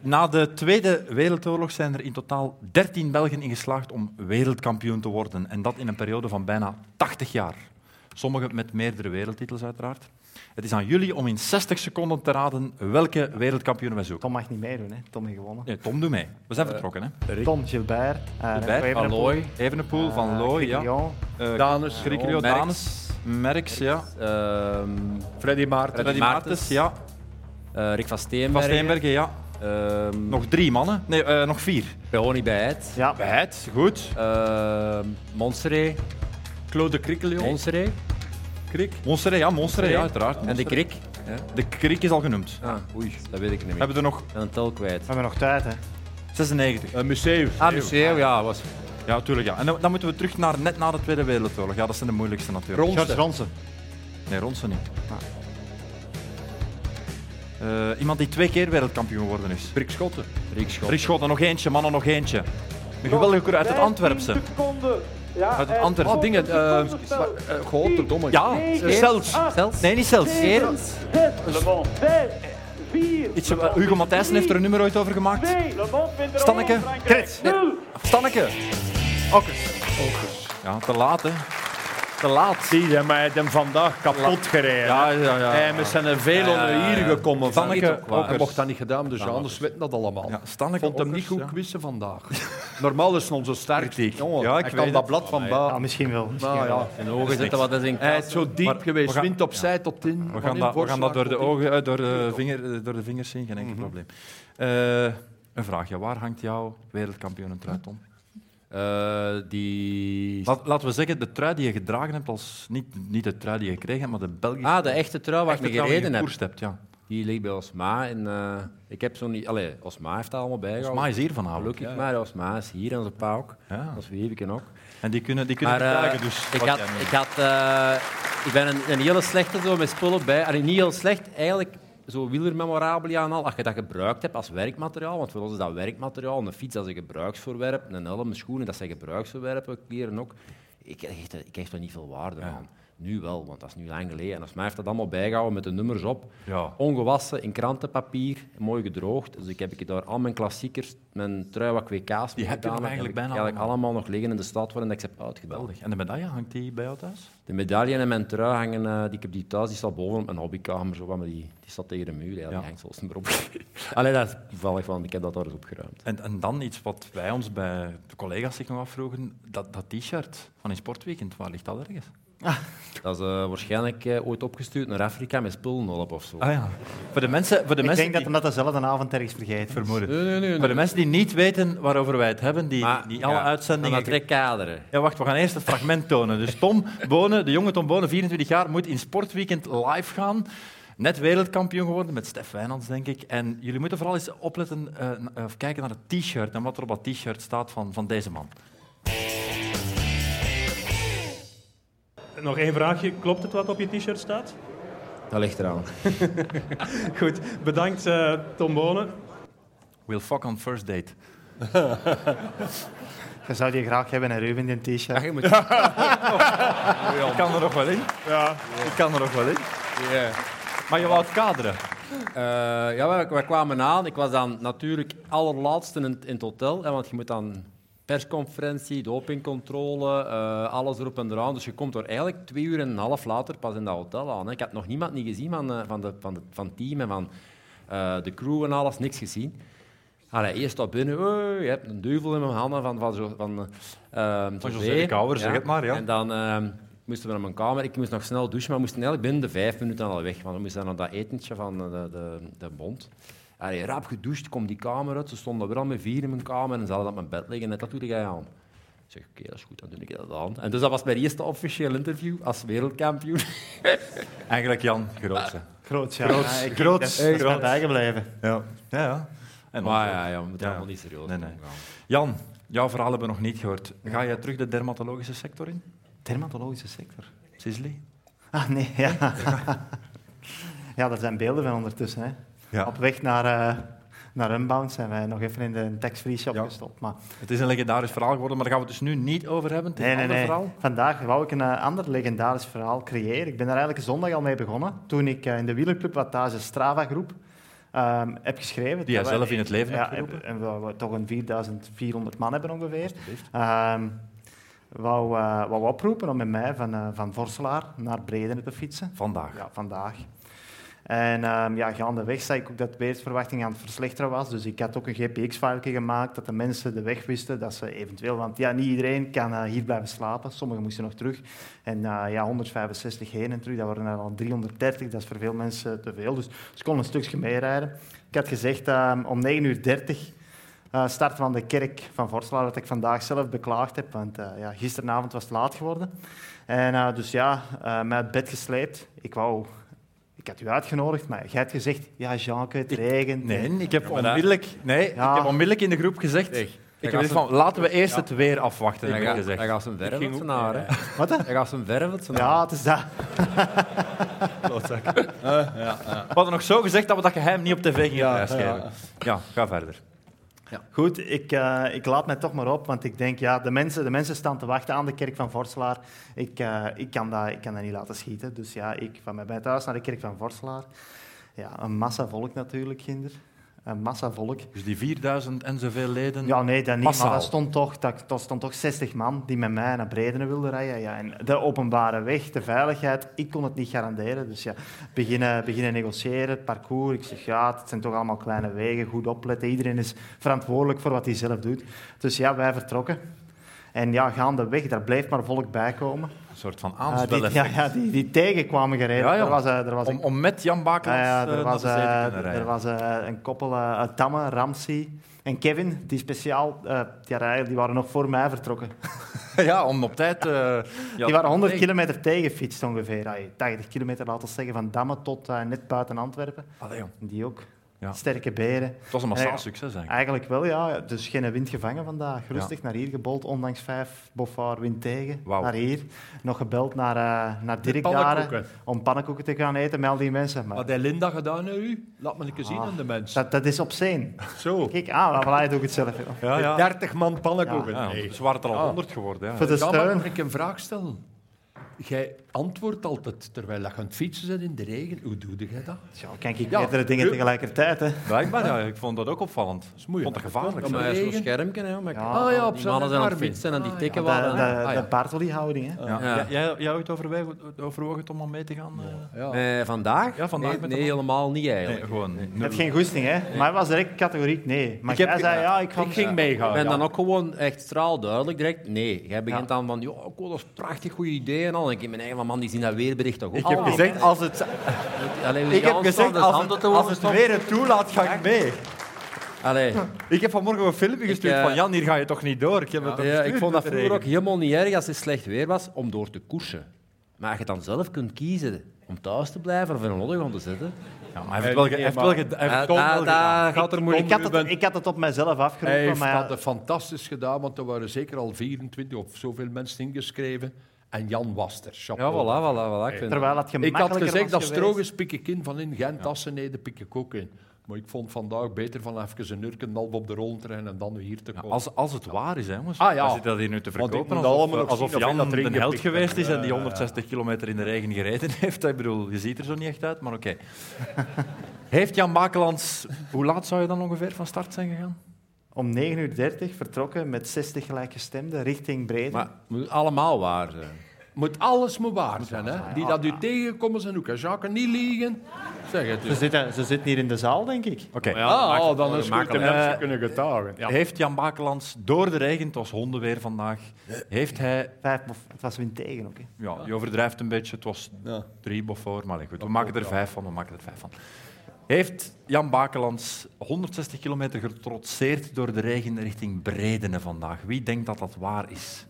Na de Tweede Wereldoorlog zijn er in totaal 13 Belgen in geslaagd om wereldkampioen te worden. En dat in een periode van bijna 80 jaar. Sommigen met meerdere wereldtitels, uiteraard. Het is aan jullie om in 60 seconden te raden welke wereldkampioen wij zoeken. Tom mag niet meedoen, hè. Tom heeft gewonnen. Nee, Tom, doe mee. We zijn vertrokken, hè? Tom, Gilbert. eh, Van Remco Evenepoel, Ah, Allooi, Evenepoel, Van Looy, ja. Lyon. Eh, Danus, Grigrio, Merks. Danes, Merks, ja. Ehm Freddy Maarten. Freddy Maartens, Maartens. ja. eh, Rick van Van Steenbergen. Steenbergen, ja. Ehm, Nog drie mannen. Nee, eh, nog vier. Behoni Bijt. Ja, Bijt, goed. Ehm Monseré. Claude Krikkelio. Monseré. Monsteré, ja, Monsteré, ja, uiteraard. En de Monsteré. Krik. De Krik is al genoemd. Ah, oei, dat weet ik niet We meer. hebben er nog Ik ben een tel kwijt. we hebben nog tijd, hè. 96. Een museum. Ah, museum, ja. Was... Ja, natuurlijk. Ja. En dan, dan moeten we terug naar net na de Tweede Wereldoorlog. Ja, dat zijn de moeilijkste natuurlijk. George Ronsen. Nee, Ronsen niet. Eh, iemand die twee keer wereldkampioen geworden is. Rick Schotten. Rick Schot. Rick Schotten, nog eentje, mannen, nog eentje. Een geweldige coureur uit het Antwerpse. Seconden. Ja, Uit het en Antwerpse. nog Ah, dingen, een eh, secondenspel. Godverdomme. Ja, eh, Negen, zelfs. acht, Zelfs? Ah, Nee, niet zelfs. zeven, zes, Le Mans. Vijf, vier. Iets, eh, Hugo Matthijssen heeft er een nummer ooit over gemaakt. Twee. Le Mans wint er Stanneke, ook in Frankrijk. Kret. Nul. Stanneke. Okkers. Ja, te laat, hè. te laat. Zie je, maar hij heeft hem vandaag kapot gereden. Ja, ja, ja. Hij is zijn er veel onder hier gekomen. Van. Vanneke Hij Okkers. mocht dat niet gedaan, dus ja, anders weten dat allemaal. Ja, Stanneke vond hem niet Okkers, goed ja. quizzen vandaag. Normaal is onze start. Jongen, Ja, ik hij weet kan dat het. blad van ba. Ja, Ah, misschien wel. Misschien Nou, wel. ja. In de ogen zitten wat is in Hij is zo diep Maar geweest. we gaan- Wind opzij tot in. We van gaan, in dat, we gaan dat Voorslaan door de tot in. ogen, eh, door de, vinger, eh, door de vingers zien, geen enkel probleem. Eh, een vraagje, waar hangt jouw wereldkampioenentrui, Tom? Eh, die... Laat, laten we zeggen, de trui die je gedragen hebt, als, niet, niet de trui die je gekregen hebt, maar de Belgische Ah, de echte trui waar echte ik mee trui die je gereden heb. gekoerst hebt. Ja. Die ligt bij Osma. En, eh, ik heb zo niet... Allee, Osma heeft dat allemaal bijgehouden. Volgens mij is hier vanavond. Gelukkig maar, Osma is hier en zijn pa ook. Ja. Dat is Wiebeke ook. En die kunnen, die kunnen Maar eh, dragen, dus. ik, wat had, jij neemt. ik, had, eh, ik ben een, een hele slechte zo met spullen bij. Allee, niet heel slecht, eigenlijk zo wielermemorabilia en al. Als je dat gebruikt hebt als werkmateriaal, want voor ons is dat werkmateriaal. Een fiets, dat is een gebruiksvoorwerp. Een helm, schoenen, dat zijn gebruiksvoorwerpen. Kleren ook. Ik, hecht er- ik hecht er niet veel waarde aan. Nu wel, want dat is nu lang geleden. En als mij heeft dat allemaal bijgehouden met de nummers op. Ja. Ongewassen, in krantenpapier, mooi gedroogd. Dus ik heb daar al mijn klassiekers, mijn trui wat WK's Die heb je nog gedaan eigenlijk heb ik bijna eigenlijk allemaal nog liggen in de stad waarin ik ze heb uitgedaan. Geweldig. En de medaille, hangt die bij jou thuis? De medaille en mijn trui hangen, eh, die, ik heb die thuis, die staat boven op mijn hobbykamer, zo, wat, maar die, die staat tegen de muur, ja, die hangt zelfs niet meer op. Allee, dat is toevallig, want ik heb dat daar eens opgeruimd. En, en dan iets wat wij ons bij de collega's zich nog afvroegen, dat, dat t-shirt van in Sportweekend, waar ligt dat ergens? Dat is eh, waarschijnlijk eh, ooit opgestuurd naar Afrika met spullenhulp of zo. Ah ja. Voor de mensen, voor de Ik mensen denk dat die, hem dat dezelfde avond ergens vergeet. Vermoeden. voor de mensen die niet weten waarover wij het hebben, die, die alle ja, uitzendingen... Aan dat rekkaderen. Ja, wacht, we gaan eerst het fragment tonen. Dus Tom Bonen, de jonge Tom Bonen, 24 jaar, moet in Sportweekend live gaan. Net wereldkampioen geworden met Stef Wijnands, denk ik. En jullie moeten vooral eens opletten eh, n- eh, of kijken naar het t-shirt en wat er op dat t-shirt staat van, van deze man. Nog één vraagje. Klopt het wat op je t-shirt staat? Dat ligt eraan. Goed. Bedankt, eh Tom Bonen. We'll fuck on first date. Je zou die graag hebben, een Ruben, in een t-shirt. Ik kan er nog wel in. Ja. Ik kan er nog wel in. Maar je wou het kaderen. Eh, ja, wij, wij kwamen aan. Ik was dan natuurlijk allerlaatste in, in het hotel. Hè, want je moet dan persconferentie, dopingcontrole, eh, alles erop en eraan. Dus je komt er eigenlijk twee uur en een half later pas in dat hotel aan. Hè. Ik had nog niemand niet gezien van, eh, van, de, van, de, van het team en van eh, de crew en alles. Niks gezien. Allee, eerst op binnen, oei, je hebt een duivel in mijn handen van, van, zo- van, eh, ehm, José José. de Kouwer, zeg het maar, ja. En dan ehm, moesten we naar mijn kamer. Ik moest nog snel douchen, maar we moesten eigenlijk binnen de vijf minuten al weg. Want we moesten dan naar dat etentje van eh, de, de, de bond. Allee, rap gedoucht, kom die kamer uit. Ze stonden weer al met vier in mijn kamer en ze hadden op mijn bed liggen. En dat doe jij aan. Ik zeg, oké, dat is goed, dan doe ik dat aan. En dus dat was mijn eerste officieel interview als wereldkampioen. Eigenlijk Jan, grootste. Groot, ja. Ja, ik, dat is, dat is mij bijgebleven. Ja. Ja, ja. En Maar ja, ja, we moeten Ja. allemaal niet serieus Nee, nee, nee. Jan, jouw verhaal hebben we nog niet gehoord. Ga jij terug de dermatologische sector in? Dermatologische sector. Sisley? Ah, nee, ja. ja, daar zijn beelden van ondertussen. Hè. Ja. Op weg naar, eh naar Unbound zijn wij nog even in de tax-free shop Ja. gestopt. Maar Het is een legendarisch verhaal geworden, maar daar gaan we het dus nu niet over hebben. Het is nee, een nee, ander nee. verhaal. Vandaag wou ik een eh, ander legendarisch verhaal creëren. Ik ben daar eigenlijk zondag al mee begonnen. Toen ik eh, in de wielerclub Wattage Strava groep ehm, heb geschreven. Die jij Dat zelf in het leven hebt ja, geroepen. En we, we toch een 4400 man hebben ongeveer. Ehm, wou, eh, wou oproepen om met mij van, eh, van Vorselaar naar Bredene te fietsen. Vandaag. Ja, vandaag. En ehm ja, gaandeweg zei ik ook dat de weersverwachting aan het verslechteren was. Dus ik had ook een GPX-file gemaakt, dat de mensen de weg wisten, dat ze eventueel... Want ja, niet iedereen kan eh, hier blijven slapen. Sommigen moesten nog terug. En eh, ja, 165 heen en terug, dat waren er al 330. Dat is voor veel mensen te veel. Dus ze konden een stukje meerijden. Ik had gezegd, ehm, om 9.30 uur eh, starten van de kerk van Vorselaar, dat ik vandaag zelf beklaagd heb. Want eh, ja, gisteravond was het laat geworden. En eh, dus ja, eh mij uit bed gesleept. Ik wou... Ik had u uitgenodigd, maar jij hebt gezegd... Ja, Jeanke, het regent. Nee, ik heb, dat- onmiddellijk, nee Ja. ik heb onmiddellijk in de groep gezegd... Ik heb ga gezegd van, laten we eerst het weer afwachten, Hij heb ik gaat- hij gezegd. gaat zijn verven naar, hè. Wat? hè? Hij gaat zijn verven Ja, het is dat. We hadden nog zo gezegd dat we dat geheim niet op tv gingen prijsgeven. Ja, ga verder. Goed, ik, eh, ik laat mij toch maar op, want ik denk, ja, de mensen, de mensen staan te wachten aan de kerk van Vorselaar. Ik, eh, ik, kan dat, ik kan dat niet laten schieten. Dus ja, ik van mij bij thuis naar de kerk van Vorselaar. Ja, een massa volk natuurlijk, kinder. een massa volk. Dus die 4000 en zoveel leden. Ja, nee, dat niet. Massaal. Maar dat stond, toch, dat, dat stond toch 60 man die met mij naar Bredene wilden rijden. Ja, en de openbare weg, de veiligheid, ik kon het niet garanderen. Dus ja, beginnen, beginnen negociëren, het parcours. Ik zeg, ja, het zijn toch allemaal kleine wegen, goed opletten. Iedereen is verantwoordelijk voor wat hij zelf doet. Dus ja, wij vertrokken. En ja, gaandeweg, daar bleef maar volk bij komen. Een soort van Ah, die- aanspel. ja, ja, die, die tegenkwamen gereden. Ja, ja. Er was, eh, er was om, een om met Jan Bakels Ah ja, ja, eh, er was, naar de zee te eh, kunnen rijden. er was eh, een koppel eh, uit Damme, Ramsey en Kevin, die speciaal, eh, die, hadden- die waren nog voor mij vertrokken. ja, om op tijd... eh, ja, die waren 100 nee. kilometer tegenfietst ongeveer. Allee, 80 kilometer, laten we zeggen, van Damme tot eh, net buiten Antwerpen. Allee, jong. En Die ook. Ja. Sterke beren. Het was een massaal Ja. succes eigenlijk. Eigenlijk wel, ja. Dus geen wind gevangen vandaag. Rustig naar hier gebold, ondanks vijf bofaar wind tegen. Wauw. Naar hier. Nog gebeld naar, eh naar Dirk pannenkoeken. Daren om pannenkoeken te gaan eten met al die mensen. Maar Wat heeft Linda gedaan naar u? Laat me een keer zien Ah. aan de mensen. dat, dat is op zee. Zo. Kijk, ah, voilà, doe ik het zelf. Ja, joh. ja. 30 man pannenkoeken. Ja, Nee. Ze waren er Ah. al 100 geworden. Ja. Voor de Ja, maar steun. mag ik een vraag stellen? Jij antwoordt altijd terwijl je aan het fietsen bent in de regen. Hoe doe jij dat? Ja, kijk ik Ja, meerdere dingen nu- tegelijkertijd. Hè. Blijkbaar, ja. Ik vond dat ook opvallend. Ik vond het gevaarlijk. Ja, maar zeg. hij is zo'n Regen. schermpje, hè, maar Ja. Ah, ja, op die zijn mannen zijn aan het armen. fietsen en die Ah, tikken De, waren. de, hè. Ah, ja. de Bartoli-houding. Hè. Ja. Ja. Ja, jij, jij ooit overwegen- overwogen om al mee te gaan? eh? Ja. Eh, vandaag? Ja, vandaag nee, met de nee, man. helemaal niet eigenlijk. Nee, gewoon. Je nul. hebt geen goesting, hè? Maar hij was direct categoriek nee. Maar Ik jij heb- zei, ja, ik, ga- Ik ging meegaan. Ik ben ja. dan ook gewoon echt straalduidelijk direct. Nee, jij begint dan van, joh, cool, dat is een prachtig goed idee. En al. En ik in mijn eigen van, man, die zien dat weerbericht toch ook. Ik heb gezegd, als het, Allee, we ik heb gaan staan, gezegd, dus als handen het, te als horen het staan. weer het toelaat, ga ik mee. Allee. Ik heb vanmorgen een filmpje gestuurd eh, van Jan, hier ga je toch niet door? Ik heb het toch Ja, ik gestuurd vond dat met de vroeger ook regen. helemaal niet erg als het slecht weer was om door te koersen. Maar als je dan zelf kunt kiezen om thuis te blijven of in een ondergrond te zitten... Ja, maar hij heeft wel ge- hij heeft wel ge- hij heeft het toon eh, wel daar- gedaan. daar gaat er moeilijk ik, had het, ik had het op mijzelf Hij afgeroepen, heeft maar ja, dat fantastisch gedaan, want er waren zeker al 24 of zoveel mensen ingeschreven. En Jan was er. Ja, chapeau. voilà, voilà, voilà. Ik vind- terwijl het Ik had gemakkelijker gezegd, dat was geweest. Stroges pik ik in van in Gent, Asseneden pik ik ook in. Maar ik vond vandaag beter van even een uur half op de roltrein en dan hier te komen. Als, als het waar is, hè, jongens. Ah, ja. We zitten dat hier nu te Want ik verkopen. moet Alsof, allemaal nog alsof zien of Jan ik dat erin een held gepikt heb. eh. geweest is en die Ja, 160 kilometer in de regen gereden heeft. Ik bedoel, je ziet er zo niet echt uit, maar oké. heeft Jan Bakelands... Hoe laat zou je dan ongeveer van start zijn gegaan? Om 9.30 uur vertrokken met 60 gelijkgestemden richting Breden. Maar het moet allemaal waar eh. zijn. Moet alles maar waar zijn, hè? Die dat u tegenkomen zijn ook. hè. Jacques, niet liegen. Zeg het ze, dus. zitten, ze zitten hier in de zaal, denk ik. Oké. Ah, oh, dan is het goed. De gemakkelijk. mensen kunnen getuigen. Ja. eh, Heeft Jan Bakelands door de regen, het was hondenweer vandaag, heeft hij... Vijf, of, het was wind tegen ook. Hè. Ja, je overdrijft een beetje, het was drie bofoor, maar goed, we maken er vijf van, we maken er vijf van. Heeft Jan Bakelands 160 kilometer getrotseerd door de regen richting Bredene vandaag? Wie denkt dat dat waar is?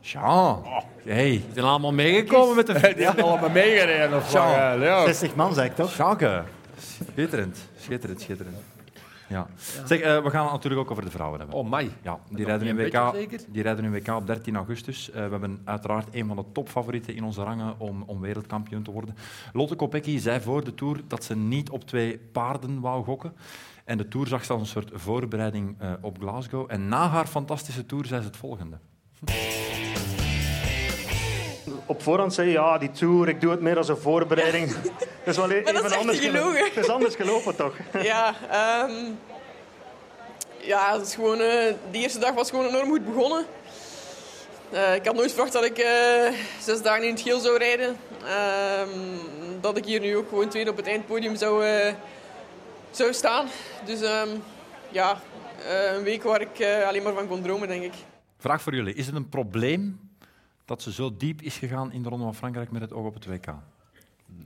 Jean. Hey, Die zijn allemaal meegekomen met de Die hebben allemaal meegereden of Jean. Ja, ja. 60 man, zei ik toch? Jeanke. Schitterend, schitterend, schitterend. Ja. Zeg, eh, we gaan het natuurlijk ook over de vrouwen hebben. Oh, mij. Ja, die rijden, nog in niet WK, een beetje zeker? die rijden in WK op 13 augustus. Eh, we hebben uiteraard een van de topfavorieten in onze rangen om, om wereldkampioen te worden. Lotte Kopecky zei voor de Tour dat ze niet op twee paarden wou gokken. En de Tour zag ze als een soort voorbereiding eh, op Glasgow. En na haar fantastische Tour zei ze het volgende. op voorhand zei je, ja, die tour, ik doe het meer als een voorbereiding. Dat is wel e- even Maar dat is echt anders gelogen. Het is anders gelopen toch? Ja, ehm, ja het is gewoon, eh, de eerste dag was gewoon enorm goed begonnen. Eh, ik had nooit verwacht dat ik eh, zes dagen in het geel zou rijden. Ehm, dat ik hier nu ook gewoon tweede op het eindpodium zou, eh, zou staan. Dus ehm, ja, eh, een week waar ik eh, alleen maar van kon dromen, denk ik. Vraag voor jullie. Is het een probleem dat ze zo diep is gegaan in de Ronde van Frankrijk met het oog op het WK?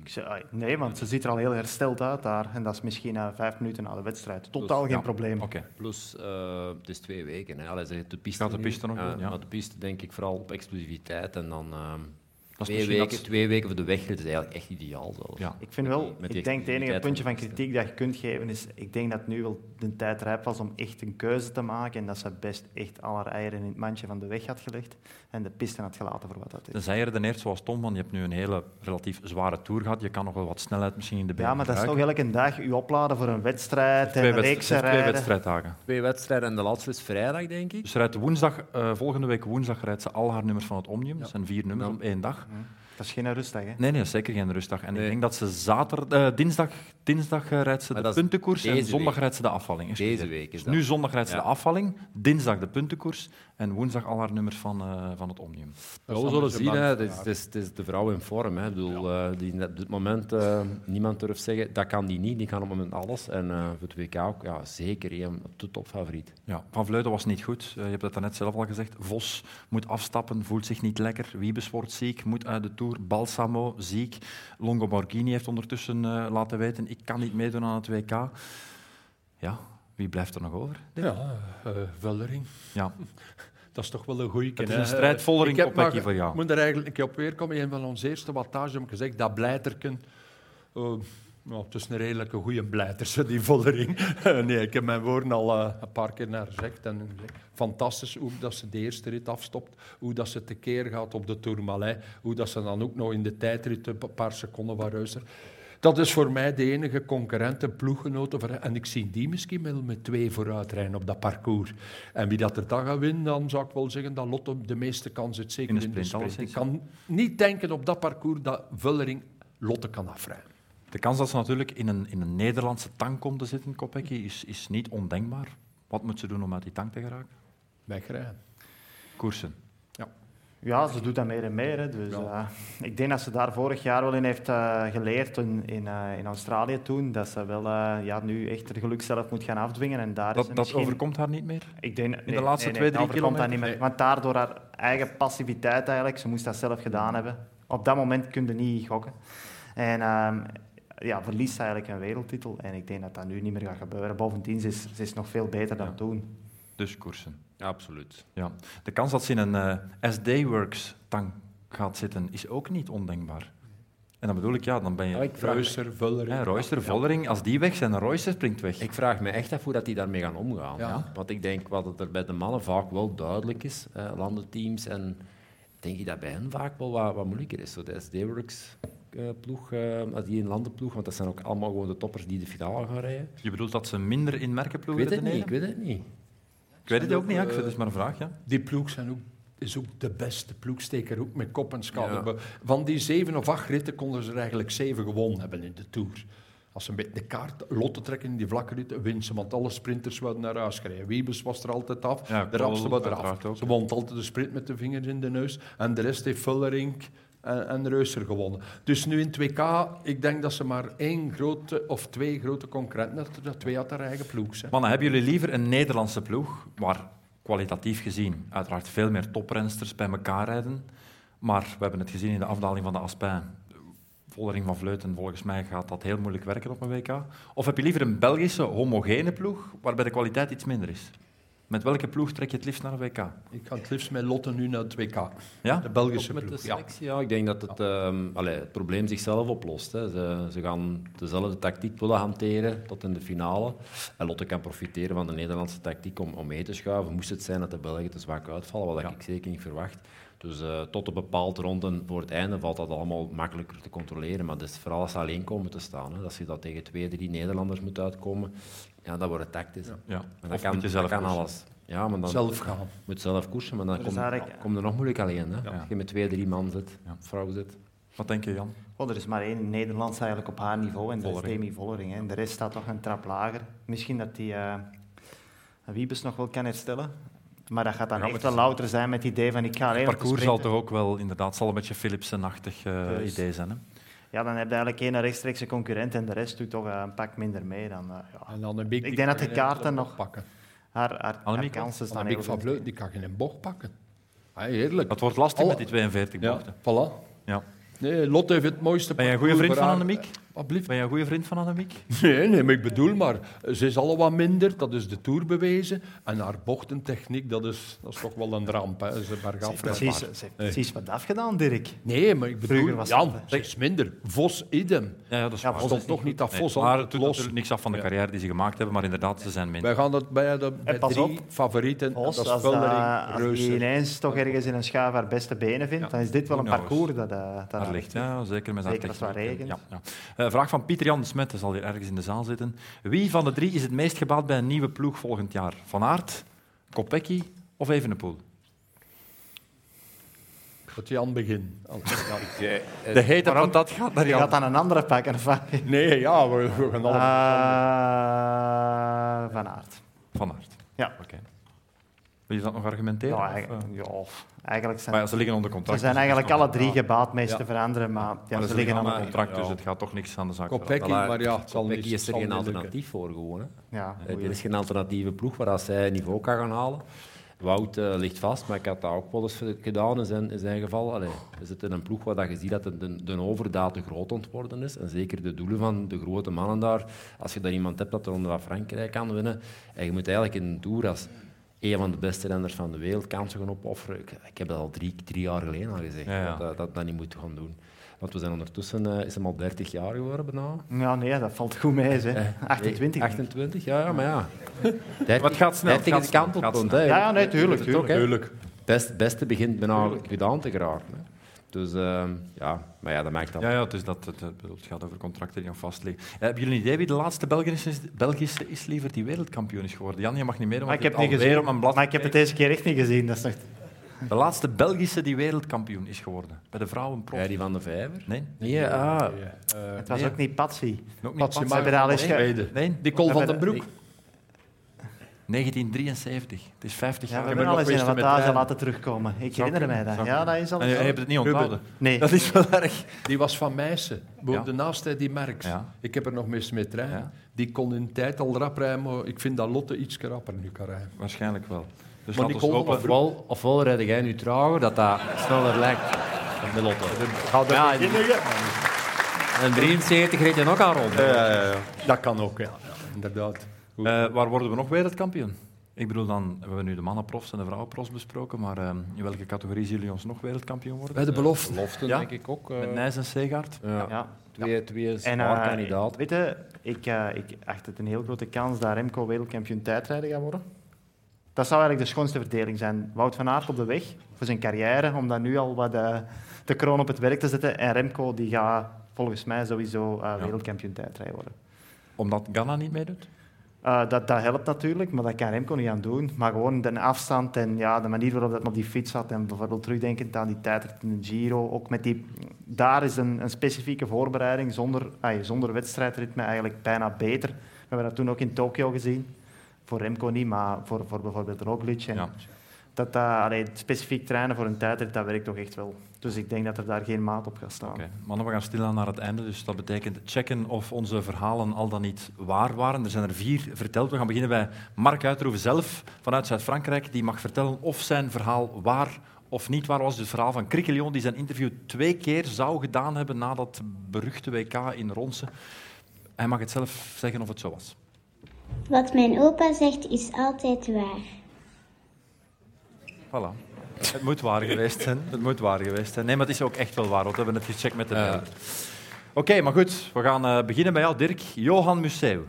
Ik zei, "Ai, nee, want ze ziet er al heel hersteld uit daar. En dat is misschien eh, vijf minuten na de wedstrijd. Totaal geen ja. probleem. Oké. Plus, eh, het is twee weken. Hè. Allee, ze- de piste Gaat de nu. Eh, piste nog doen, ja. Maar de piste denk ik vooral op exclusiviteit. En dan ehm, Dat is twee, misschien weken, dat- twee weken voor de wegrit is eigenlijk echt ideaal. Zelfs. Ja. Ik vind wel, Met die- met die ik denk het enige exclusiviteit puntje van van de piste. kritiek dat je kunt geven is, ik denk dat nu wel de tijd rijp was om echt een keuze te maken en dat ze best echt alle eieren in het mandje van de weg had gelegd en de piste had gelaten voor wat dat is. Tenzij je redeneert zoals Tom, van je hebt nu een hele relatief zware tour gehad. Je kan nog wel wat snelheid misschien in de benen Ja, maar dat is toch gebruiken. elke dag u opladen voor een wedstrijd en Twee, een wedst- reeks het zijn twee rijden. wedstrijddagen. Twee wedstrijden en de laatste is vrijdag, denk ik. Dus ze rijdt woensdag, eh, volgende week woensdag rijdt ze al haar nummers van het Omnium. Dat zijn vier nummers Ja. op één dag. Dat is geen rustdag, hè? Nee, nee, zeker geen rustdag. En ik denk dat ze zaterdag, eh, dinsdag, dinsdag eh, rijdt ze de dat is puntenkoers en deze zondag week. rijdt ze de afvalling. Deze Excuseer. week is Dus dat. nu zondag rijdt ze Ja. de afvalling, dinsdag de puntenkoers en woensdag al haar nummers van, eh, van het Omnium. Ja, we zullen zien. hè. Het is, het, is, het is de vrouw in vorm. Hè. Ik bedoel, eh, die op dit moment eh, niemand durft zeggen, dat kan die niet. Die kan op het moment alles. En eh, voor het WK ook, ja, zeker één op de topfavoriet. Ja, Van Vleuten was niet goed. Eh, je hebt dat net zelf al gezegd. Vos moet afstappen, voelt zich niet lekker. Wiebes wordt ziek, moet uit de Tour. Balsamo ziek. Longo Borghini heeft ondertussen eh, laten weten, ik kan niet meedoen aan het WK. Ja, wie blijft er nog over? Ja, eh Vullering. Ja. Dat is toch wel een goede is een strijdvollering opwekking voor jou. Ik moet er eigenlijk een keer op weerkomen. Een van onze eerste wattage heb ik gezegd, dat blijterken... eh, nou, het is een redelijke goede blijter, zo, die Vollering. nee, ik heb mijn woorden al eh, een paar keer naar gezegd. En gezegd, fantastisch hoe dat ze de eerste rit afstopt. Hoe dat ze tekeer gaat op de Tourmalet. Hoe dat ze dan ook nog in de tijdrit een pa- paar seconden wat ruister. Dat is voor mij de enige concurrent en ploeggenoten. voor- En ik zie die misschien wel met twee vooruitrijden op dat parcours. En wie dat er dan gaat winnen, dan zou ik wel zeggen dat Lotte de meeste kans zit. Zeker in In de de sprint. sprint, Ik kan niet denken op dat parcours dat Vullering Lotte kan afrijden. De kans dat ze natuurlijk in een, in een Nederlandse tank komt te zitten, Kopecky, is, is niet ondenkbaar. Wat moet ze doen om uit die tank te geraken? Wegrijden. Koersen. Ja, ze doet dat meer en meer. Hè. Dus, eh, ik denk dat ze daar vorig jaar wel in heeft eh, geleerd in, in, eh, in Australië toen. Dat ze wel eh, ja, nu echt het geluk zelf moet gaan afdwingen. En daar is Dat, ze dat misschien- overkomt haar niet meer? Ik denk, In de laatste twee, dat drie overkomt dat kilometer? niet meer. Nee. Want daardoor haar eigen passiviteit eigenlijk, ze moest dat zelf gedaan hebben. Op dat moment kun je niet gokken. En ehm, ja, verliest ze eigenlijk een wereldtitel. En ik denk dat dat nu niet meer gaat gebeuren. Bovendien, ze is, ze is nog veel beter dan toen. Dus koersen. Absoluut. Ja. De kans dat ze in een eh, SD Works tank gaat zitten, is ook niet ondenkbaar. En dan bedoel ik, ja, dan ben je... Ja, ik vraag me- Ruister, Vullering. Hè, Royster, Vollering, als die weg zijn, dan Royster springt weg. Ik vraag me echt af hoe dat die daarmee gaan omgaan. Ja. Ja. Want ik denk wat het er bij de mannen vaak wel duidelijk is, eh, landenteams, en denk ik dat bij hen vaak wel wat, wat moeilijker is. Zo de SD-Works-ploeg, eh, als die een landenploeg, want dat zijn ook allemaal gewoon de toppers die de finale gaan rijden. Je bedoelt dat ze minder in merkenploegen Ik weet het redeneren? niet, ik weet het niet. Ik weet het Zijn ook niet, hè. ook, Ik vind- eh, het is maar een vraag. Ja. Die ploeg zijn ook, is ook de beste ploegsteker, ook met kop en schouder. Ja. Be- Van die zeven of acht ritten konden ze er eigenlijk zeven gewonnen hebben in de Tour. Als ze een beetje de kaart lotte trekken in die vlakke ritten, winst ze. Want alle sprinters wilden naar huis gereden. Wiebes was er altijd af, Ja, de rapste Kool was eraf. uiteraard ook, ze won altijd de sprint met de vingers in de neus. En de rest heeft Vullering en, en Reuser gewonnen. Dus nu in 2K, ik denk dat ze maar één grote of twee grote concurrenten hadden. Twee uit haar eigen ploeg. Hè. Mannen, hebben jullie liever een Nederlandse ploeg, waar kwalitatief gezien uiteraard veel meer toprensters bij elkaar rijden, maar we hebben het gezien in de afdaling van de Aspijn. Vollering van Vleuten, volgens mij gaat dat heel moeilijk werken op een WK. Of heb je liever een Belgische, homogene ploeg, waarbij de kwaliteit iets minder is? Met welke ploeg trek je het liefst naar een WK? Ik ga het liefst met Lotte nu naar het WK. Ja? De Belgische Ook met ploeg. de selectie, ja. Ik denk dat het, ehm, allee, het probleem zichzelf oplost. Hè. Ze, ze gaan dezelfde tactiek willen hanteren tot in de finale. En Lotte kan profiteren van de Nederlandse tactiek om, om mee te schuiven. Moest het zijn dat de Belgen te zwak uitvallen, wat ik zeker niet verwacht. Dus eh, tot een bepaald ronde voor het einde valt dat allemaal makkelijker te controleren. Maar dat is vooral als ze alleen komen te staan. Hè. Als je dat tegen twee, drie Nederlanders moet uitkomen, ja, dat wordt het tactisch. Ja. Maar dat Of kan, moet je zelf dat kan koersen. alles. Ja, maar dan Zelf gaan. moet zelf koersen, maar dan Dus komt eigenlijk- kom er nog moeilijk alleen. Hè? Ja. Als je met twee, drie man zit, Ja. vrouw zit. Wat denk je, Jan? Oh, er is maar één in Nederland eigenlijk op haar niveau en dat Vollering. is Demi Vollering. hè. En de rest staat toch een trap lager. Misschien dat die eh, Wiebes nog wel kan herstellen. Maar dat gaat dan Ja, maar echt het wel louter zijn met het idee van ik ga alleen Het op de parcours zal sprinten. toch ook wel inderdaad zal een beetje Philipsen-achtig eh, Juist. idee zijn. Hè? Ja, dan heb je eigenlijk één rechtstreekse concurrent en de rest doet toch eh, een pak minder mee. Dan, eh, ja. En dan een big, Ik denk dat de die kan je kaarten niet nog- eh, oppakken. haar, haar, haar Annemiek, kansen Dan staan heb ik heel van goed. Vleut, die kan geen bocht pakken. Hey, eerlijk. Het wordt lastig Alle- met die 42 ja, bochten. voilà. Ja. Nee, Lotte heeft het mooiste Ben jij een goede parcours vriend van voor haar- Annemiek? Wat blieft? Ben jij een goede vriend van Annemiek? Nee, nee, maar ik bedoel maar, ze is al wat minder, dat is de Tour bewezen. En haar bochtentechniek, dat is, dat is toch wel een ramp. Hè. Ze maar Ze heeft precies, ze heeft precies wat afgedaan, Dirk. Nee, maar ik Vroeger bedoel, was Jan, dat, hè. ze is minder. Vos idem. Ja, ja, dat is Ja, waar. Vos Stond toch niet dat Nee, Vos maar al het doet los. natuurlijk niks af van de carrière die ze gemaakt hebben, maar inderdaad, ze zijn minder. Wij gaan dat bij de bij pas drie op, favorieten. en Os, dat is als, dat- Vullering, als die Reuser. ineens toch ergens in een schaaf haar beste benen vindt, dan is dit wel een Who knows? parcours dat, eh, dat Daar haar ligt, ja, zeker met haar Zeker als het wat techniek. regent. Ja, ja. Eh, vraag van Pieter Jan de Smet, hij zal hier ergens in de zaal zitten. Wie van de drie is het meest gebaat bij een nieuwe ploeg volgend jaar? Van Aert, Kopecky of Evenepoel? Dat Jan begin. Oh, De hete patat eh, gaat naar Je Jan. gaat dan een andere pakken. Van, Nee, ja, we, we Ah. gaan allemaal... Eh, van Aert. Van Aert. Ja. Wil je dat nog argumenteren? Ja, of, eigen- eh? Eigenlijk zijn, Maar ja, ze liggen onder contract. Nou, Ze zijn dus eigenlijk dat is alle nog- drie gebaat mee Ja. te veranderen, maar, ja, Maar ze liggen allemaal allemaal onder contract, dus het gaat toch niks aan de zaak. Kopecky, veranderen. maar ja, het zal Kopecky niet- is er zal geen niet lukken. alternatief voor gewoon. Hè. Ja, Eh, er is geen alternatieve ploeg waar als zij niveau kan gaan halen. Wout eh, ligt vast, maar ik had dat ook wel eens gedaan in zijn, in zijn geval. Allee, we zitten in een ploeg waar dat je ziet dat de, de, de overdaad te groot ontworden is. En zeker de doelen van de grote mannen daar. Als je daar iemand hebt dat er onder van Frankrijk kan winnen. En je moet eigenlijk in een tour als een van de beste renners van de wereld kansen gaan opofferen. Ik, ik heb dat al drie, drie jaar geleden al gezegd, Ja, ja. Dat, dat dat niet moet gaan doen. Want we zijn ondertussen, eh, is hem al 30 jaar geworden bijna. Ja, nee, dat valt goed mee. Eh, Zeg. 28. 28, ja, ja, maar ja. Wat gaat snel, 30 gaat is snel, het kantelpunt. gaat hè. snel. Ja, ja, nee, tuurlijk, Je weet het ook, hè. tuurlijk. Best, beste begint bijna gedaan te geraken. hè. Dus ehm, ja, maar ja, dat maakt dan. Ja, ja, het, is dat, het, eh, bedoel, het gaat over contracten die nog vastliggen. Eh, hebben jullie een idee wie de laatste Belgische is, Belgische is liever die wereldkampioen is geworden? Jan, je mag niet meer, want Maar ik je heb hebt niet gezien. alweer op mijn blad. Maar ik heb het deze keer echt niet gezien. Dat is echt... De laatste Belgische die wereldkampioen is geworden. Bij de vrouwenprof. Ja, die van de vijver. Nee? Nee, ah. eh, Het was nee. ook niet Patsy. Ook niet Patsy Patsy. Ze hebben daar al eens ge... Tweede. Nee? Die Col van den Broek. 1973. Het is 50 Ja, jaar. we geleden. hebben al nog eens in een geweest met wattage trein. laten terugkomen. Ik herinner mij dat. Ja, dat is al En je hebt het niet onthouden. Nee. Dat is wel erg. Die was van Meijsen. Woonde naast hij die Merks. Ja. Ik heb er nog mis mee trein. Ja. Die kon in tijd al rap rijden, maar ik vind dat Lotte iets rapper nu kan rijden. Waarschijnlijk wel. Dus Maar laat die ons Col hopen. van den Broek. Ofwel, ofwel rijd jij nu trager, dat dat sneller lijkt. Dan de Lotto. Ja, en, en 73 reed je nog aan rond. Ja, ja, ja. Dat kan ook, ja. ja, inderdaad. Goed. Eh, waar worden we nog wereldkampioen? Ik bedoel, dan hebben we nu de mannenprofs en de vrouwenprofs besproken, maar eh, in welke categorie zien jullie ons nog wereldkampioen worden? Eh, Bij de belofte. Beloften, Ja. denk ik ook. eh, Met Nijs en Segaard. ja. Ja. Twee, twee En, zwaar eh, kandidaten. Weet je, ik, eh, ik acht het een heel grote kans dat Remco wereldkampioen tijdrijden gaat worden. Dat zou eigenlijk de schoonste verdeling zijn. Wout van Aert op de weg voor zijn carrière, om daar nu al wat eh, de kroon op het werk te zetten. En Remco die gaat volgens mij sowieso eh, wereldkampioen tijdrijden worden. Omdat Ghana niet meedoet? Eh, dat, dat helpt natuurlijk, maar dat kan Remco niet aan doen. Maar gewoon de afstand en ja, de manier waarop dat op die fiets zat. En bijvoorbeeld terugdenkend aan die tijdrit in de Giro. Ook met die, daar is een, een specifieke voorbereiding zonder, ay, zonder wedstrijdritme eigenlijk bijna beter. We hebben dat toen ook in Tokio gezien. Voor Remco niet, maar voor, voor bijvoorbeeld Roglic. En Ja. dat, dat, allee, specifiek trainen voor een tijdrit, dat werkt toch echt wel. Dus ik denk dat er daar geen maat op gaat staan. Oké, mannen, we gaan stilaan naar het einde. Dus dat betekent checken of onze verhalen al dan niet waar waren. Er zijn er vier verteld. We gaan beginnen bij Mark Uitroeven zelf vanuit Zuid-Frankrijk. Die mag vertellen of zijn verhaal waar of niet waar was. Dus het verhaal van Criquelion, die zijn interview twee keer zou gedaan hebben na dat beruchte WK in Ronsen. Hij mag het zelf zeggen of het zo was. Wat mijn opa zegt is altijd waar. Voilà. Het moet waar geweest zijn. Het moet waar geweest zijn. Nee, maar het is ook echt wel waar, want we hebben het gecheckt met de Ja. beelden. Oké, maar goed. We gaan eh, beginnen bij jou, Dirk. Johan Museeuw.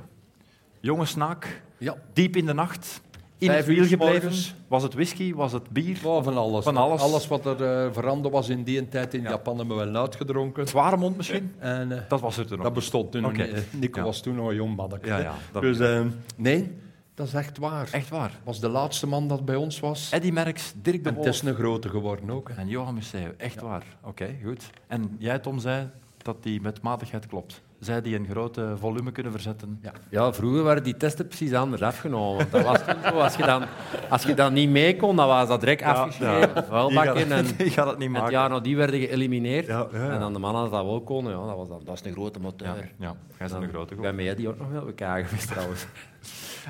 Jonge snaak, Ja. diep in de nacht, in Vijf het wiel uur gebleven. morgens. Was het whisky, was het bier? Ja, van alles. Van alles. wat er eh, veranderd was in die tijd in Japan hebben we wel uitgedronken. Het ware mond misschien? En, eh, Dat was het er nog. dat bestond toen. Oké. eh, Nico Ja. was toen nog een jong manneke, Ja, hè. ja, dat- Dus eh, nee, dat is echt waar. Echt waar. was de laatste man dat bij ons was. Eddy Merckx, Dirk de En het is Wolf een grote geworden ook. hè. en Johan Museeuw. Echt waar. Oké, goed. En jij, Tom, zei dat die met matigheid klopt. Zij die een grote volume kunnen verzetten. Ja, vroeger waren die testen precies anders afgenomen. Want dat was toen zo, als, je dan, als je dan niet mee kon, dan was dat direct afgeschreven. Vuilbak in en Je gaat het niet het maken. jaar die werden geëlimineerd. En dan de mannen die dat wel konden, ja, dat, was dan, dat was een grote moteur. Ja, jij bent een grote Ik ben met die ook nog wel elkaar geweest trouwens.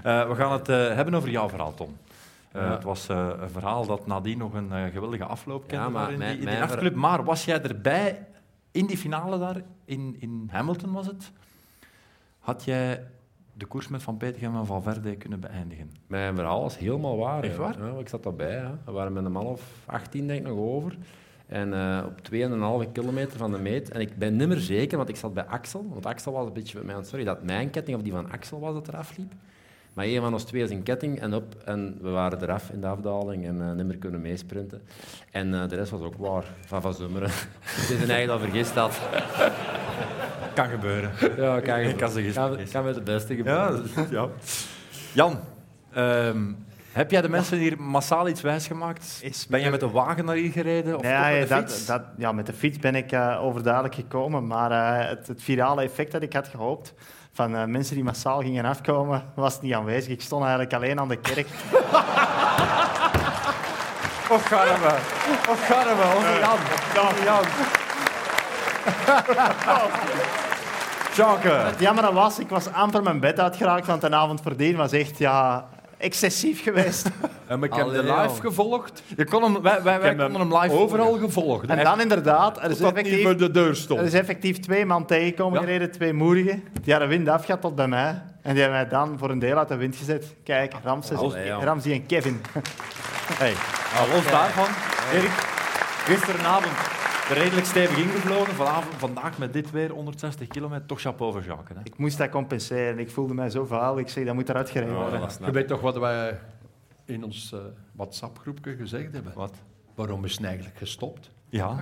Eh, we gaan het eh, hebben over jouw verhaal, Tom. Eh, Het was eh, een verhaal dat nadien nog een eh, geweldige afloop kende maar daar in, mijn- die, in die mijn nachtclub. Maar was jij erbij in die finale daar, in, in Hamilton was het? Had jij de koers met Van Petegem en Valverde kunnen beëindigen? Mijn verhaal was helemaal waar. Echt ja. waar? Ja, ik zat daarbij. Hè. We waren met een man of 18 denk ik nog over. En eh op 2,5 kilometer van de meet. En ik ben nimmer zeker, want ik zat bij Axel. Want Axel was een beetje met mij aan het- Sorry, dat mijn ketting of die van Axel was dat eraf liep. Maar een van ons twee is een ketting en op. En we waren eraf in de afdaling en eh nimmer kunnen meesprinten. En eh, de rest was ook waar. Van Van Zummeren. Het is een eigen dat vergist had. Kan gebeuren. Ja, kan, Ik kan ze gisteren kan, kan met de beste gebeuren. Ja, ja. Jan, ehm, Heb jij de mensen hier massaal iets wijsgemaakt? Ben jij met de wagen naar hier gereden? Of Nee, toch ja, met de dat, fiets? dat, ja, met de fiets ben ik eh, overduidelijk gekomen. Maar eh, het, het virale effect dat ik had gehoopt van eh, mensen die massaal gingen afkomen, was niet aanwezig. Ik stond eigenlijk alleen aan de kerk. Och, garme. Och, garme. Onze Jan. Onze Jan. Tjanke. Het jammer was, ik was amper mijn bed uitgeraakt, want de avond voordien was echt ja, excessief geweest. Ehm, En ik heb de Allee, live joh. gevolgd. Je kon hem, wij, wij, wij konden hem live overal gevolgd. En dan inderdaad, er is Totdat effectief, niet voor de deur er is stond. effectief twee man tegenkomen gereden, twee moerigen. Die hadden wind afgehad tot bij mij. En die hebben mij dan voor een deel uit de wind gezet. Kijk, Ramses, Allee, joh. Ramsey en Kevin. Hey. Nou, los daarvan, Erik, gisteravond redelijk stevig ingevlogen. Vanavond, vandaag met dit weer 160 kilometer. Toch chapeau voor Jacques. Hè? Ik moest dat compenseren. Ik voelde mij zo vuil. Ik zeg, dat moet eruit gereden worden. Je weet toch wat wij in ons eh, WhatsApp-groepje gezegd hebben? Wat? Waarom is hij eigenlijk gestopt? Ja.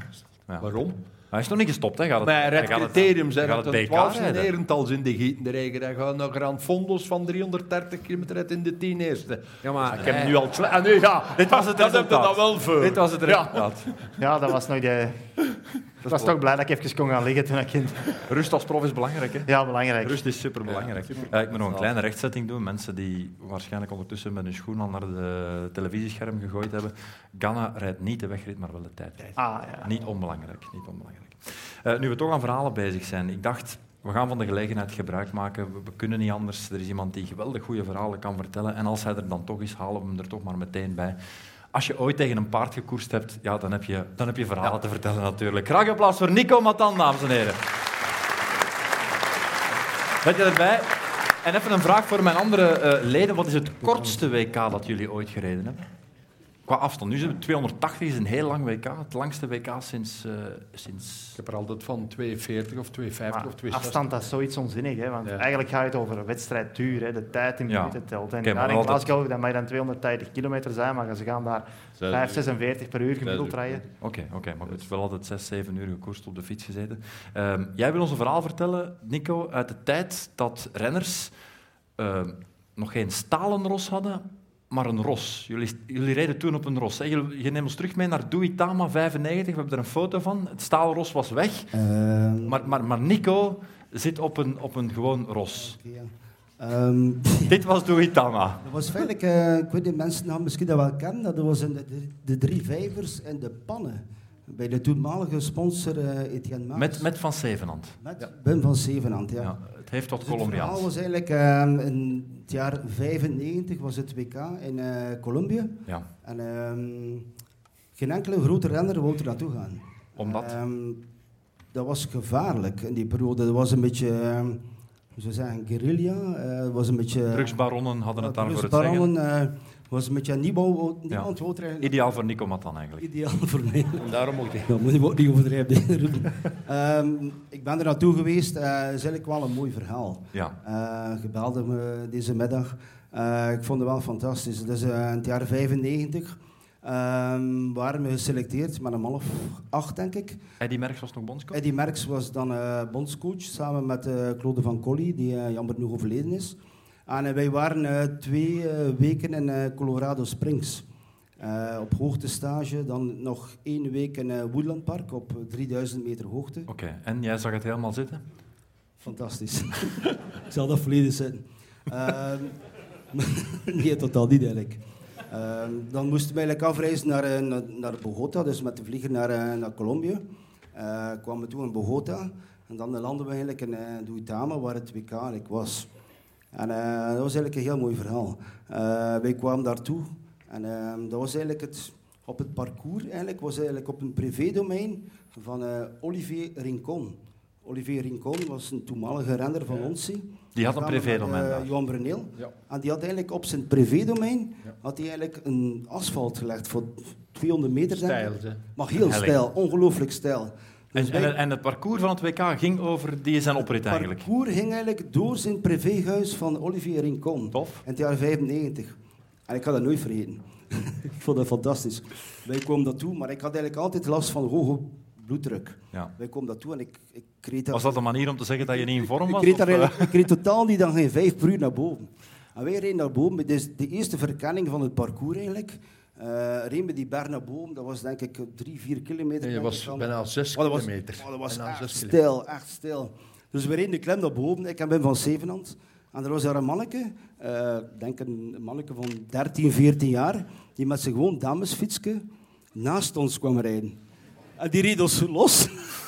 Waarom? Hij is nog niet gestopt. Hè? Gaat het, Maar hij het gaat het- criterium hij zijn gaat dat het een BK 12 in rijden. Herentals in de gieten rijden. Dan gaan nog aan fondos van 330 kilometer uit in de 10 eerste. Ja, maar ik heb hij- nu al... sle- Ah, nu, ja. Dit was het dat heb je resultaat. dan wel voor. Eh, Dit was het Ja. resultaat. Ja, dat was nog de... Ik was toch blij dat ik even kon gaan liggen toen ik kind. Rust als prof is belangrijk. Hè? Ja, belangrijk. Rust is superbelangrijk. Eh, ik moet nog een kleine rechtzetting doen. Mensen die waarschijnlijk ondertussen met hun schoen al naar de televisiescherm gegooid hebben. Ghana rijdt niet de wegrit, maar wel de tijdrit. Ah, ja. Niet onbelangrijk. Niet onbelangrijk. Eh, nu we toch aan verhalen bezig zijn. Ik dacht, we gaan van de gelegenheid gebruik maken. We, we kunnen niet anders. Er is iemand die geweldig goede verhalen kan vertellen. En als hij er dan toch is, halen we hem er toch maar meteen bij. Als je ooit tegen een paard gekoerst hebt, ja, dan, heb je, dan heb je verhalen te vertellen natuurlijk. Graag een applaus voor Nico Matan, dames en heren. Ben je erbij? En even een vraag voor mijn andere eh, leden. Wat is het kortste WK dat jullie ooit gereden hebben? Qua afstand. Nu zijn we 280 is een heel lang WK. Het langste WK sinds... eh, sinds... Ik heb er altijd van 240 of 250 of 260. Afstand, dat is zoiets onzinnig. Hè? Want Ja. eigenlijk gaat het over een wedstrijdduur. Hè? De tijd in Ja. minuten telt. En Oké, maar daar in altijd- Glasgow, dat mag dan 230 kilometer zijn, maar ze gaan daar Zij- 5, 46 per uur gemiddeld Zij- rijden. Oké, oké. maar goed. Wel altijd zes, zeven uur gekoerst op de fiets gezeten. Ehm, jij wil ons een verhaal vertellen, Nico, uit de tijd dat renners ehm, nog geen stalen ros hadden, maar een ros. Jullie, jullie reden toen op een ros. hè? Jullie- Je neemt ons terug mee naar Duitama 95. We hebben er een foto van. Het stalen ros was weg. Ehm, Maar, maar, maar Nico zit op een, op een gewoon ros. ehm, Dit was Duitama. er was feitelijk, eh, ik weet niet, mensen nou misschien dat wel kennen, dat er was in de, de, de drie vijvers en de pannen. Bij de toenmalige sponsor eh Etienne Maas. Met, met Van Zevenhand. Met Ben van Zevenhand, ja. Ja, het heeft wat Dus het Colombiaans. verhaal was eigenlijk ehm, in het jaar 95 was het WK in eh, Colombia. Ja. En ehm, geen enkele grote renner wou er naartoe gaan. Omdat? Ehm, dat was gevaarlijk in die periode. Dat was een beetje, ehm, hoe zou je zeggen, guerrilla. eh, Het was een beetje... Drugsbaronnen hadden het Ja, daar voor het zeggen. drugsbaronnen, eh, was een beetje... Niemand wou- niemand wou er eigenlijk- Ideaal voor Nico Matan eigenlijk. Ideaal voor mij. En daarom ook die. Ja, moet je ook niet overdrijven. Ruben. Ehm, ik ben er naartoe geweest. Het is eigenlijk wel een mooi verhaal. Ja. Eh, je belde me deze middag. Eh, ik vond het wel fantastisch. Het is eh, in het jaar 95. Ehm waren we geselecteerd met een man of acht, denk ik. Eddie Merckx was nog bondscoach? Eddie Merckx was dan eh, bondscoach samen met eh, Claude van Colly, die eh, jammer genoeg overleden is. En eh, wij waren eh, twee eh, weken in eh, Colorado Springs. Eh, op hoogtestage, dan nog één week in eh, Woodland Park op eh, 3000 meter hoogte. Oké, en jij zag het helemaal zitten? Fantastisch. ik zal dat volledig zetten. Ehm, nee, totaal niet eigenlijk. Ehm, dan moesten we eigenlijk afreizen naar, eh, naar, naar Bogota, dus met de vlieger naar, eh, naar Colombia. Eh kwamen we toe in Bogota en dan landen we eigenlijk in eh Duitama, waar het WK eigenlijk was. En eh, dat was eigenlijk een heel mooi verhaal. Eh, wij kwamen daartoe en eh, dat was eigenlijk het, op het parcours eigenlijk, was eigenlijk op een privédomein van eh, Olivier Rincon. Olivier Rincon was een toenmalige renner van Onsi. Die had een Samen met, privédomein eh, daar. Johan Bruneel. Ja. En die had eigenlijk op zijn privédomein had hij eigenlijk een asfalt gelegd voor 200 meter. denk ik. Stijl, hè? Maar heel Helling. stijl, ongelooflijk stijl. Dus En, wij- en, en het parcours van het WK ging over die zijn oprit eigenlijk. het parcours ging eigenlijk door zijn privéhuis van Olivier Rincon. In het jaar 95. En ik ga dat nooit vergeten. ik vond dat fantastisch. Wij kwamen daartoe, maar ik had eigenlijk altijd last van hoge bloeddruk. Ja. Wij kwamen daartoe en ik, ik kreeg daar... Was dat een manier om te zeggen dat je niet in vorm ik was? kreeg, daar of, eh? eigenlijk- ik kreeg totaal niet dan geen vijf per uur naar boven. En wij reden naar boven. Dit is de eerste verkenning van het parcours eigenlijk. Eh reden we die berg naar boven. Dat was denk ik drie, vier kilometer. Nee, dat denk was ik dan. bijna zes Maar dat was- kilometer. maar dat was Bijna echt zes kilometer. stil, echt stil. Dus we reden de klem naar boven. Ik en Ben van Zevenand. En er was daar een manneke, eh, ik denk een manneke van 13, 14 jaar, die met zijn gewoon damesfietsje naast ons kwam rijden. En die reed ons los.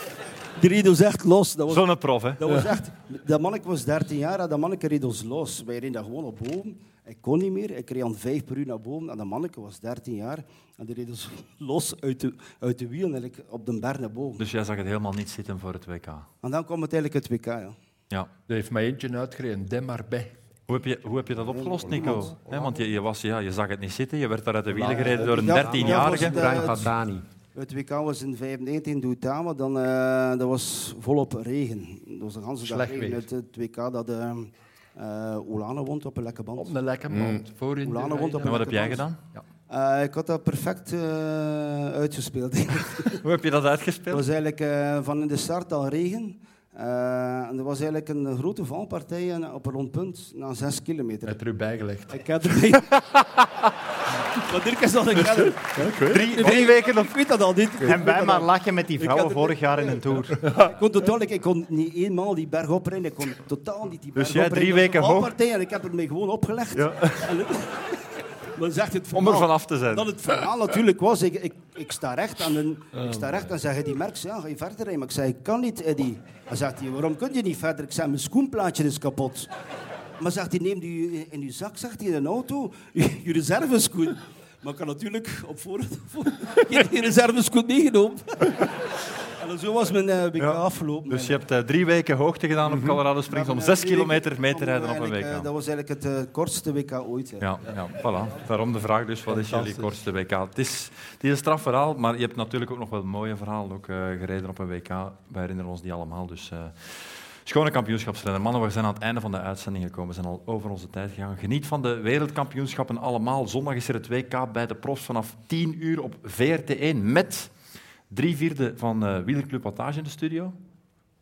Die reed ons echt los. Dat was, Zonneprof, hè? Dat, was Ja. echt, dat manneke was 13 jaar en dat manneke reed ons los. Wij reden daar gewoon op boven. Ik kon niet meer. Ik reed aan 5 per uur naar boven. En dat manneke was 13 jaar en die reed ons los uit de, uit de wielen en ik op de berg naar boven. Dus jij zag het helemaal niet zitten voor het WK. En dan kwam het eigenlijk het WK. Ja. Ja. Er heeft mij eentje uitgereden, dem maar bij. Hoe heb, je, hoe heb je dat opgelost, Nico? Holland. Hè, want je, je, was, ja, je zag het niet zitten. Je werd daar uit de wielen Ja, gereden eh, door een dat- dat was 13-jarige. het, eh, het- Het WK was in 95 in Doetama, dan eh, dat was volop regen. Dat was de ganse dag Slecht regen. weer. Het, het WK dat eh eh Oulana wond op een lekke band. Op een lekke band, Mm. voor in de Oulana wond op En een wat heb lekke jij band. gedaan? Eh, ik had dat perfect eh, uitgespeeld. Hoe heb je dat Het uitgespeeld? was eigenlijk eh, van in de start al regen. Eh, en er was eigenlijk een grote valpartij en op een rond punt na zes kilometer. Heb je erbij bijgelegd? Ik heb erbij. Wat Dirk is dat een kenner. Drie- drie weken of weet dat al niet. En wij maar lachen met die Ik had vrouwen er- vorig jaar in een tour. Ik kon totaal ik, ik kon niet eenmaal die berg oprijden. Ik kon totaal niet die Dus berg jij oprijden. drie weken Dat was een hoog? valpartij en ik heb het mij gewoon opgelegd. En het- dan zegt het Om er verhaal- vanaf te zijn. Dat het verhaal natuurlijk was, ik, ik, ik sta recht en een, ik sta recht en zeg die merks, ja, ga je verder rijden? Maar ik zei, ik kan niet, Eddie. Dan zegt hij, waarom kun je niet verder? Ik zei, mijn schoenplaatje is kapot. Maar zegt hij, neem die in uw zak, zegt hij, in een auto, je, je reserveschoen. Maar ik had natuurlijk op voorhand voor- geen geen reserveschoen meegenomen. En zo was mijn eh, WK afgelopen. Dus je hebt eh, drie weken hoogte gedaan op Colorado Springs om zes kilometer mee te rijden op een Eigenlijk, eh, WK. Dat was eigenlijk het eh, kortste WK ooit. hè. Ja, ja, voilà. Daarom de vraag dus, wat is jullie kortste WK? Het is, het is een straf verhaal, maar je hebt natuurlijk ook nog wel mooie verhalen ook, eh, gereden op een WK. Wij herinneren ons die allemaal. Dus eh, schone kampioenschapsrennen. Mannen, we zijn aan het einde van de uitzending gekomen. We zijn al over onze tijd gegaan. Geniet van de wereldkampioenschappen allemaal. Zondag is er het WK bij de profs vanaf 10 uur op VRT1 met drie vierde van eh Wielerclub Wattage in de studio.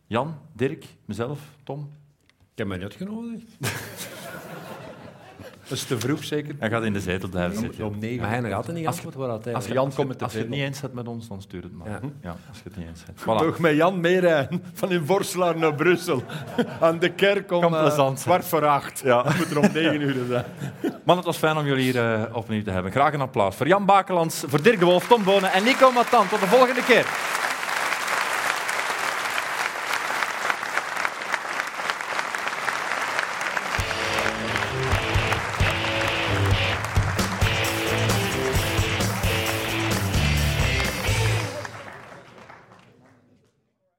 Jan, Dirk, mezelf, Tom. Ik heb mij niet genodigd. Dat is te vroeg, zeker. Hij gaat in de zetel blijven zitten. Om negen. Maar hij gaat er Als niet je- antwoord worden altijd. Als je, Jan als je- komt met de als je het veel. niet eens hebt met ons, dan stuur het maar. Ja. als je het niet eens hebt. Toch Voilà. met Jan meerijden, van in Vorselaar naar Brussel. Aan de kerk om Kan eh, plezant zijn. kwart voor acht. Ja. Het moet er om negen uur zijn. Man, het was fijn om jullie hier eh, opnieuw te hebben. Graag een applaus voor Jan Bakelands, voor Dirk de Wolf, Tom Bonen en Nico Matan. Tot de volgende keer.